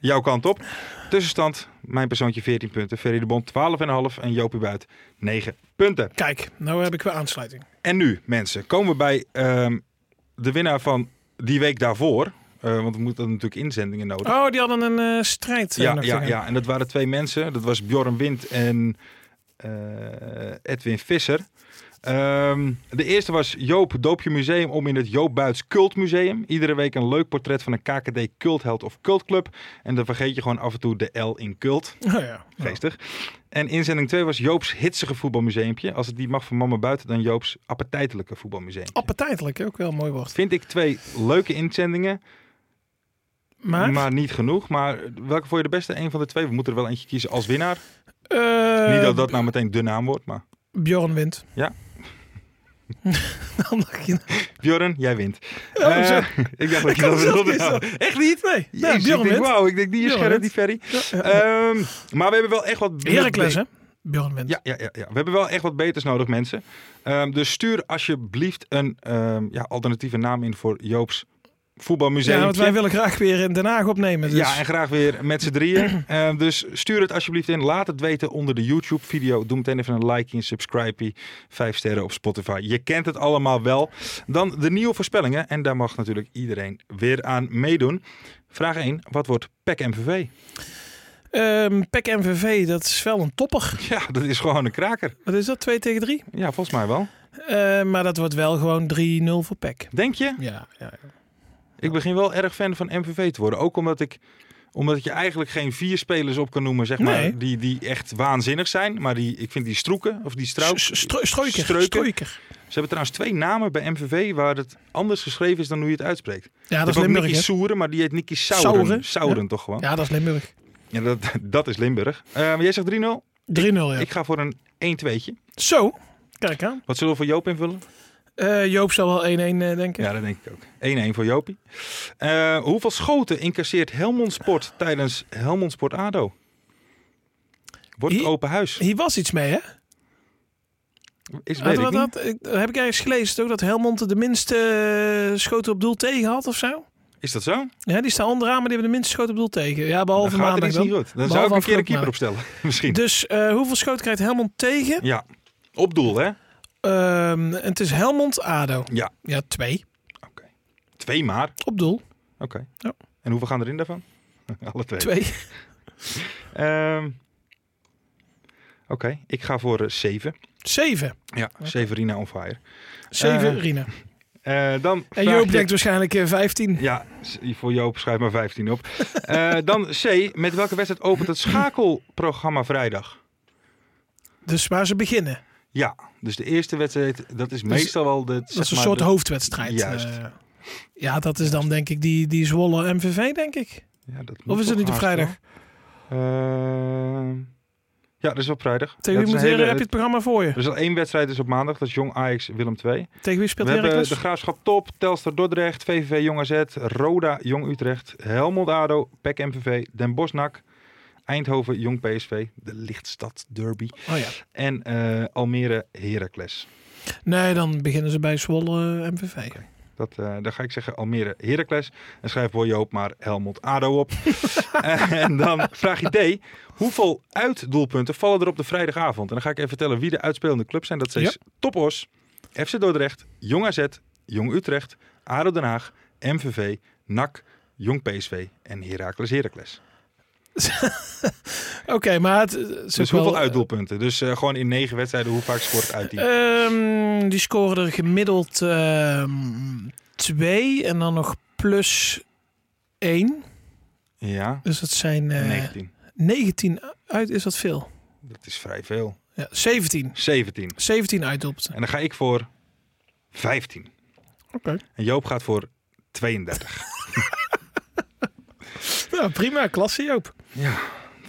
jouw kant op. Tussenstand, mijn persoontje 14 punten, Ferry de Bond 12,5 en Jopie Buit 9 punten. Kijk, nou heb ik weer aansluiting. En nu mensen, komen we bij ehm, de winnaar van die week daarvoor. Eh, want we moeten natuurlijk inzendingen nodig. Oh, die hadden een eh, strijd. eh, ja, nog te ja, gaan. ja, en dat waren twee mensen. Dat was Bjorn Wind en eh, Edwin Visser. Ehm, de eerste was Joop Doopje Museum om in het Joop Buits Cultmuseum. Iedere week een leuk portret van een KKD cultheld of cultclub. En dan vergeet je gewoon af en toe de L in cult. Oh, ja. Geestig. En inzending 2 was Joops hitsige voetbalmuseumpje. Als het die mag van mama buiten, dan Joops appetijtelijke voetbalmuseum. Appetijtelijk, ook wel een mooi woord. Vind ik twee leuke inzendingen, Maar, maar? niet genoeg. Maar welke vond je de beste? Een van de twee. We moeten er wel eentje kiezen als winnaar. eh, Niet dat dat nou meteen de naam wordt, maar... Bjorn wint. Ja. Dan mag je... Bjorn, jij wint. Ja, Eh, zo. ik dacht dat je kan dat zelf wilde niet zo. houden. Echt niet? Nee, Jezus, ja, Bjorn ik denk, wint. wauw, ik denk, die is Bjorn scherp, die Ferry. Ehm, maar we hebben wel echt wat... Heracles, hè? Bjorn wint. Ja, ja, ja, ja, we hebben wel echt wat beters nodig, mensen. Ehm, dus stuur alsjeblieft een ehm, ja, alternatieve naam in voor Joop's voetbalmuseum. Ja, want wij willen graag weer in Den Haag opnemen. Dus. Ja, en graag weer met z'n drieën. Eh, dus stuur het alsjeblieft in. Laat het weten onder de YouTube-video. Doe meteen even een like in, subscribe, vijf sterren op Spotify. Je kent het allemaal wel. Dan de nieuwe voorspellingen. En daar mag natuurlijk iedereen weer aan meedoen. Vraag 1. Wat wordt E PEC MVV? Ehm, PEC MVV, dat is wel een topper. Ja, dat is gewoon een kraker. Wat is dat, 2 tegen 3? Ja, volgens mij wel. maar dat wordt wel gewoon 3-0 voor E PEC. Denk je? Ja, ja. Ik begin wel erg fan van MVV te worden. Ook omdat ik omdat je eigenlijk geen vier spelers op kan noemen, zeg maar, Nee. die, die echt waanzinnig zijn. Maar die, ik vind die stroeken, of die struik, S- stro- Strooiker. Streuker. Strooiker. Ze hebben trouwens twee namen bij MVV waar het anders geschreven is dan hoe je het uitspreekt. Ja, Je dat is hebt ook Limburg, Nicky hè? Soeren, maar die heet Nicky Sauren. Sauren, Sauren, ja. toch gewoon? Ja, Ja, dat is Limburg. 3-0, dat, dat is Limburg. Eh, maar jij zegt 3-0. ja. Ik ga voor een 1-2'tje. Zo, kijk aan. Wat zullen we voor Joop invullen? Eh, Joop zal wel 1-1 eh, denken. Ja, dat denk ik ook. 1-1 voor Joopie. Eh, hoeveel schoten incasseert Helmond Sport Ah. tijdens Helmond Sport ADO? Wordt het Hier- open huis? Hier was iets mee, hè? Is, weet Hadden ik we niet. dat, ik, heb ik ergens gelezen toch dat Helmond de minste eh, schoten op doel tegen had of zo? is dat zo? Ja, die staan onderaan, maar die hebben de minste schoten op doel tegen. Ja, Dan behalve gaat er maandag iets dan. niet goed. Dan zou ik Behalve een keer een afgelopen keeper opstellen. Misschien. Dus eh, hoeveel schoten krijgt Helmond tegen? Ja. Op doel, hè? Ehm, en het is Helmond-Ado. Ja. Ja, twee. Twee maar. Op doel. Oké. Ja. En hoeveel gaan erin daarvan? Alle twee. Twee. Ehm, Oké, ik ga voor eh, zeven. Zeven. Ja, Severina on fire. Zeven, Eh, Rina. Eh, dan En vraag Joop je- denkt waarschijnlijk eh, 15. Ja, s- voor Joop schrijf maar 15 op. Eh, dan C. Met welke wedstrijd opent het schakelprogramma vrijdag? Dus waar ze beginnen. Ja, dus de eerste wedstrijd, dat is meestal wel de... Dus Dat is een soort hoofdwedstrijd. Juist. eh. ja, dat is dan denk ik die, die Zwolle MVV, denk ik. Of is het niet op vrijdag? Ehm, ja, dat is op vrijdag. Tegen Dat wie is moet een hele- Heren, heb je het programma voor je? Er is al één wedstrijd dus op maandag, dat is Jong Ajax Willem 2. Tegen wie speelt We hebben Heracles? de Graafschap Top, Telstar Dordrecht, VVV Jong AZ, Roda Jong Utrecht, Helmond ADO, PEC MVV, Den Bosch NAC, Eindhoven Jong PSV, de Lichtstad Derby Oh ja. en eh, Almere Heracles. Nee, dan beginnen ze bij Zwolle eh, MVV. Dat, eh daar ga ik zeggen Almere Heracles. En schrijf voor Joop maar Helmond ADO op. en dan vraag je D. Hoeveel uitdoelpunten vallen er op de vrijdagavond? En dan ga ik even vertellen wie de uitspelende clubs zijn. Dat zijn Ja. Topos, FC Dordrecht, Jong AZ, Jong Utrecht, ADO Den Haag, MVV, NAC, Jong PSV en Heracles Heracles. Oké, maar het, eh, het is Dus ook hoeveel wel- Eh, uitdoelpunten? Dus eh, gewoon in negen wedstrijden, hoe vaak scoort het uit die? Ehm, die scoren er gemiddeld ehm, twee en dan nog plus één. ja, Dus dat zijn eh 19. 19 uit. Is dat veel? Dat is vrij veel. Ja, 17. 17. 17 uitdoelpunten. En dan ga ik voor 15. Oké. En Joop gaat voor 32. Ja, prima. Klasse, Joop.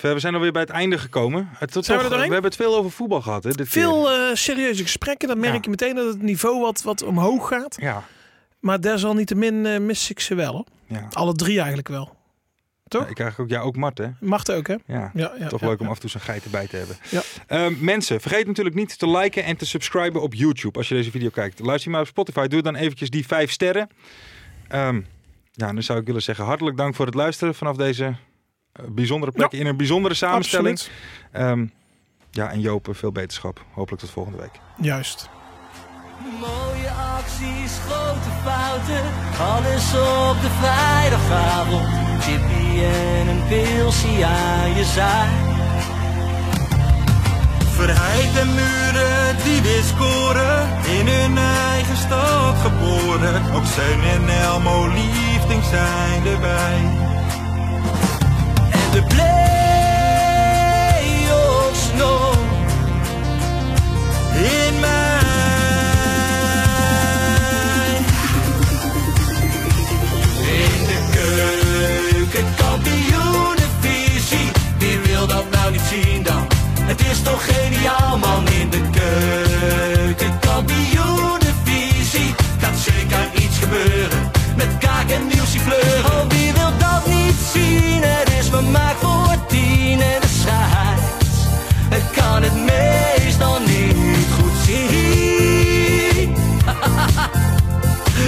We zijn alweer bij het einde gekomen. Het, tot Zijn we er doorheen? hebben het veel over voetbal gehad. Hè, dit Veel keer. eh, serieuze gesprekken. Dan merk Ja. je meteen dat het niveau wat, wat omhoog gaat. Ja, Maar desalniettemin eh, mis ik ze wel. hoor. ja. Alle drie eigenlijk wel. Toch? Ja, ik krijg ook, ja, ook Mart, hè? Mag ook, hè? Ja. Ah. Ja, ja, Toch ja, leuk ja. om af en toe zo'n geit erbij te hebben. Ja. Ehm, mensen, vergeet natuurlijk niet te liken en te subscriben op YouTube als je deze video kijkt. Luister je maar op Spotify, doe dan eventjes die vijf sterren. Ehm, ja, dan zou ik willen zeggen hartelijk dank voor het luisteren vanaf deze eh, bijzondere plek in een bijzondere samenstelling. Absoluut. Ehm, ja, en Joop, eh, veel beterschap. Hopelijk tot volgende week. Juist. Mooie acties, grote fouten, alles op de vrijdagavond. Chippy en een pilsie aan je zaai. Verheid en muren die weer scoren, in hun eigen stad geboren. Ook Zeun en Elmo liefding zijn erbij. En de play-offs nog in mij. In de keuken, kampioenenvisie. Wie wil dat nou niet zien dan? Het is toch geniaal man in de keuken, kampioenenvisie. Gaat zeker iets gebeuren met kaak en nieuwsie fleuren. Oh, wie wil dat niet zien? Het is vermaakt voor tien en de schijt. Het kan het meestal niet goed zien.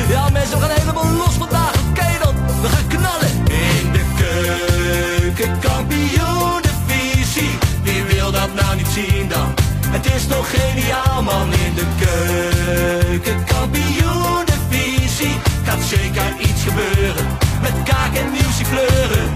Ja mensen, we gaan helemaal los vandaag. Oké dan, we gaan knallen. In de keuken, kampioen de visie. Wie wil dat nou niet zien dan? Het is toch geniaal man. In de keuken, kampioen de visie. Gaat zeker iets gebeuren. Met kaak en nieuwsie kleuren.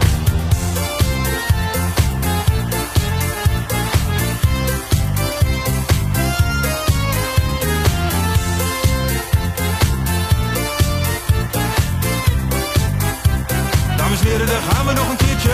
Dames en heren, daar gaan we nog een keertje.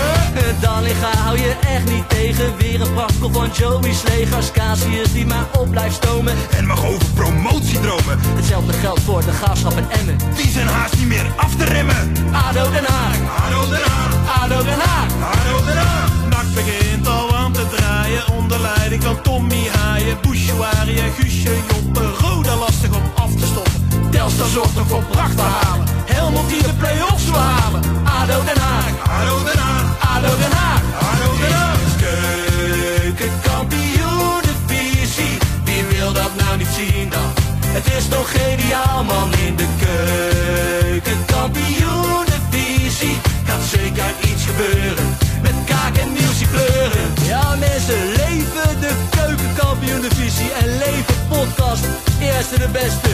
Dan liggen hou je echt niet tegen. Weer een prachtkel van Joey's legers. Casius die maar op blijft stomen. En mag over promotiedromen, Hetzelfde geldt voor de gaafschap en Emmen. die zijn haast niet meer af te remmen. ADO Den Haag, Haro eraan, ADO Den Haag. haro eraan. Nak begint al aan te draaien onder leiding van Tommy Haaien, Bouchouari en Guusje Joppen. Roda lastig om af te stoppen. Telstar zorgt nog voor pracht te halen. Helmond die de play-offs wil halen. ADO Den Haag, Haro eraan, ADO Den Haag. haro eraan. Keukenkampioenenvisie, wie wil dat nou niet zien dan? Het is toch geniaal man in de keukenkampioenenvisie. Gaat zeker iets gebeuren, met kaak en nieuwsie kleuren. Ja mensen, leven de keukenkampioenenvisie en leven podcast. Eerste de beste.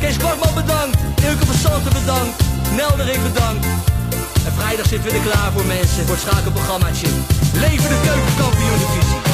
Kees Kortman bedankt, Ilke van Santen bedankt, Nelderik bedankt. En vrijdag zitten we er klaar voor mensen. Voor het schakelprogrammaatje. Leven de keukenkampioen divisie.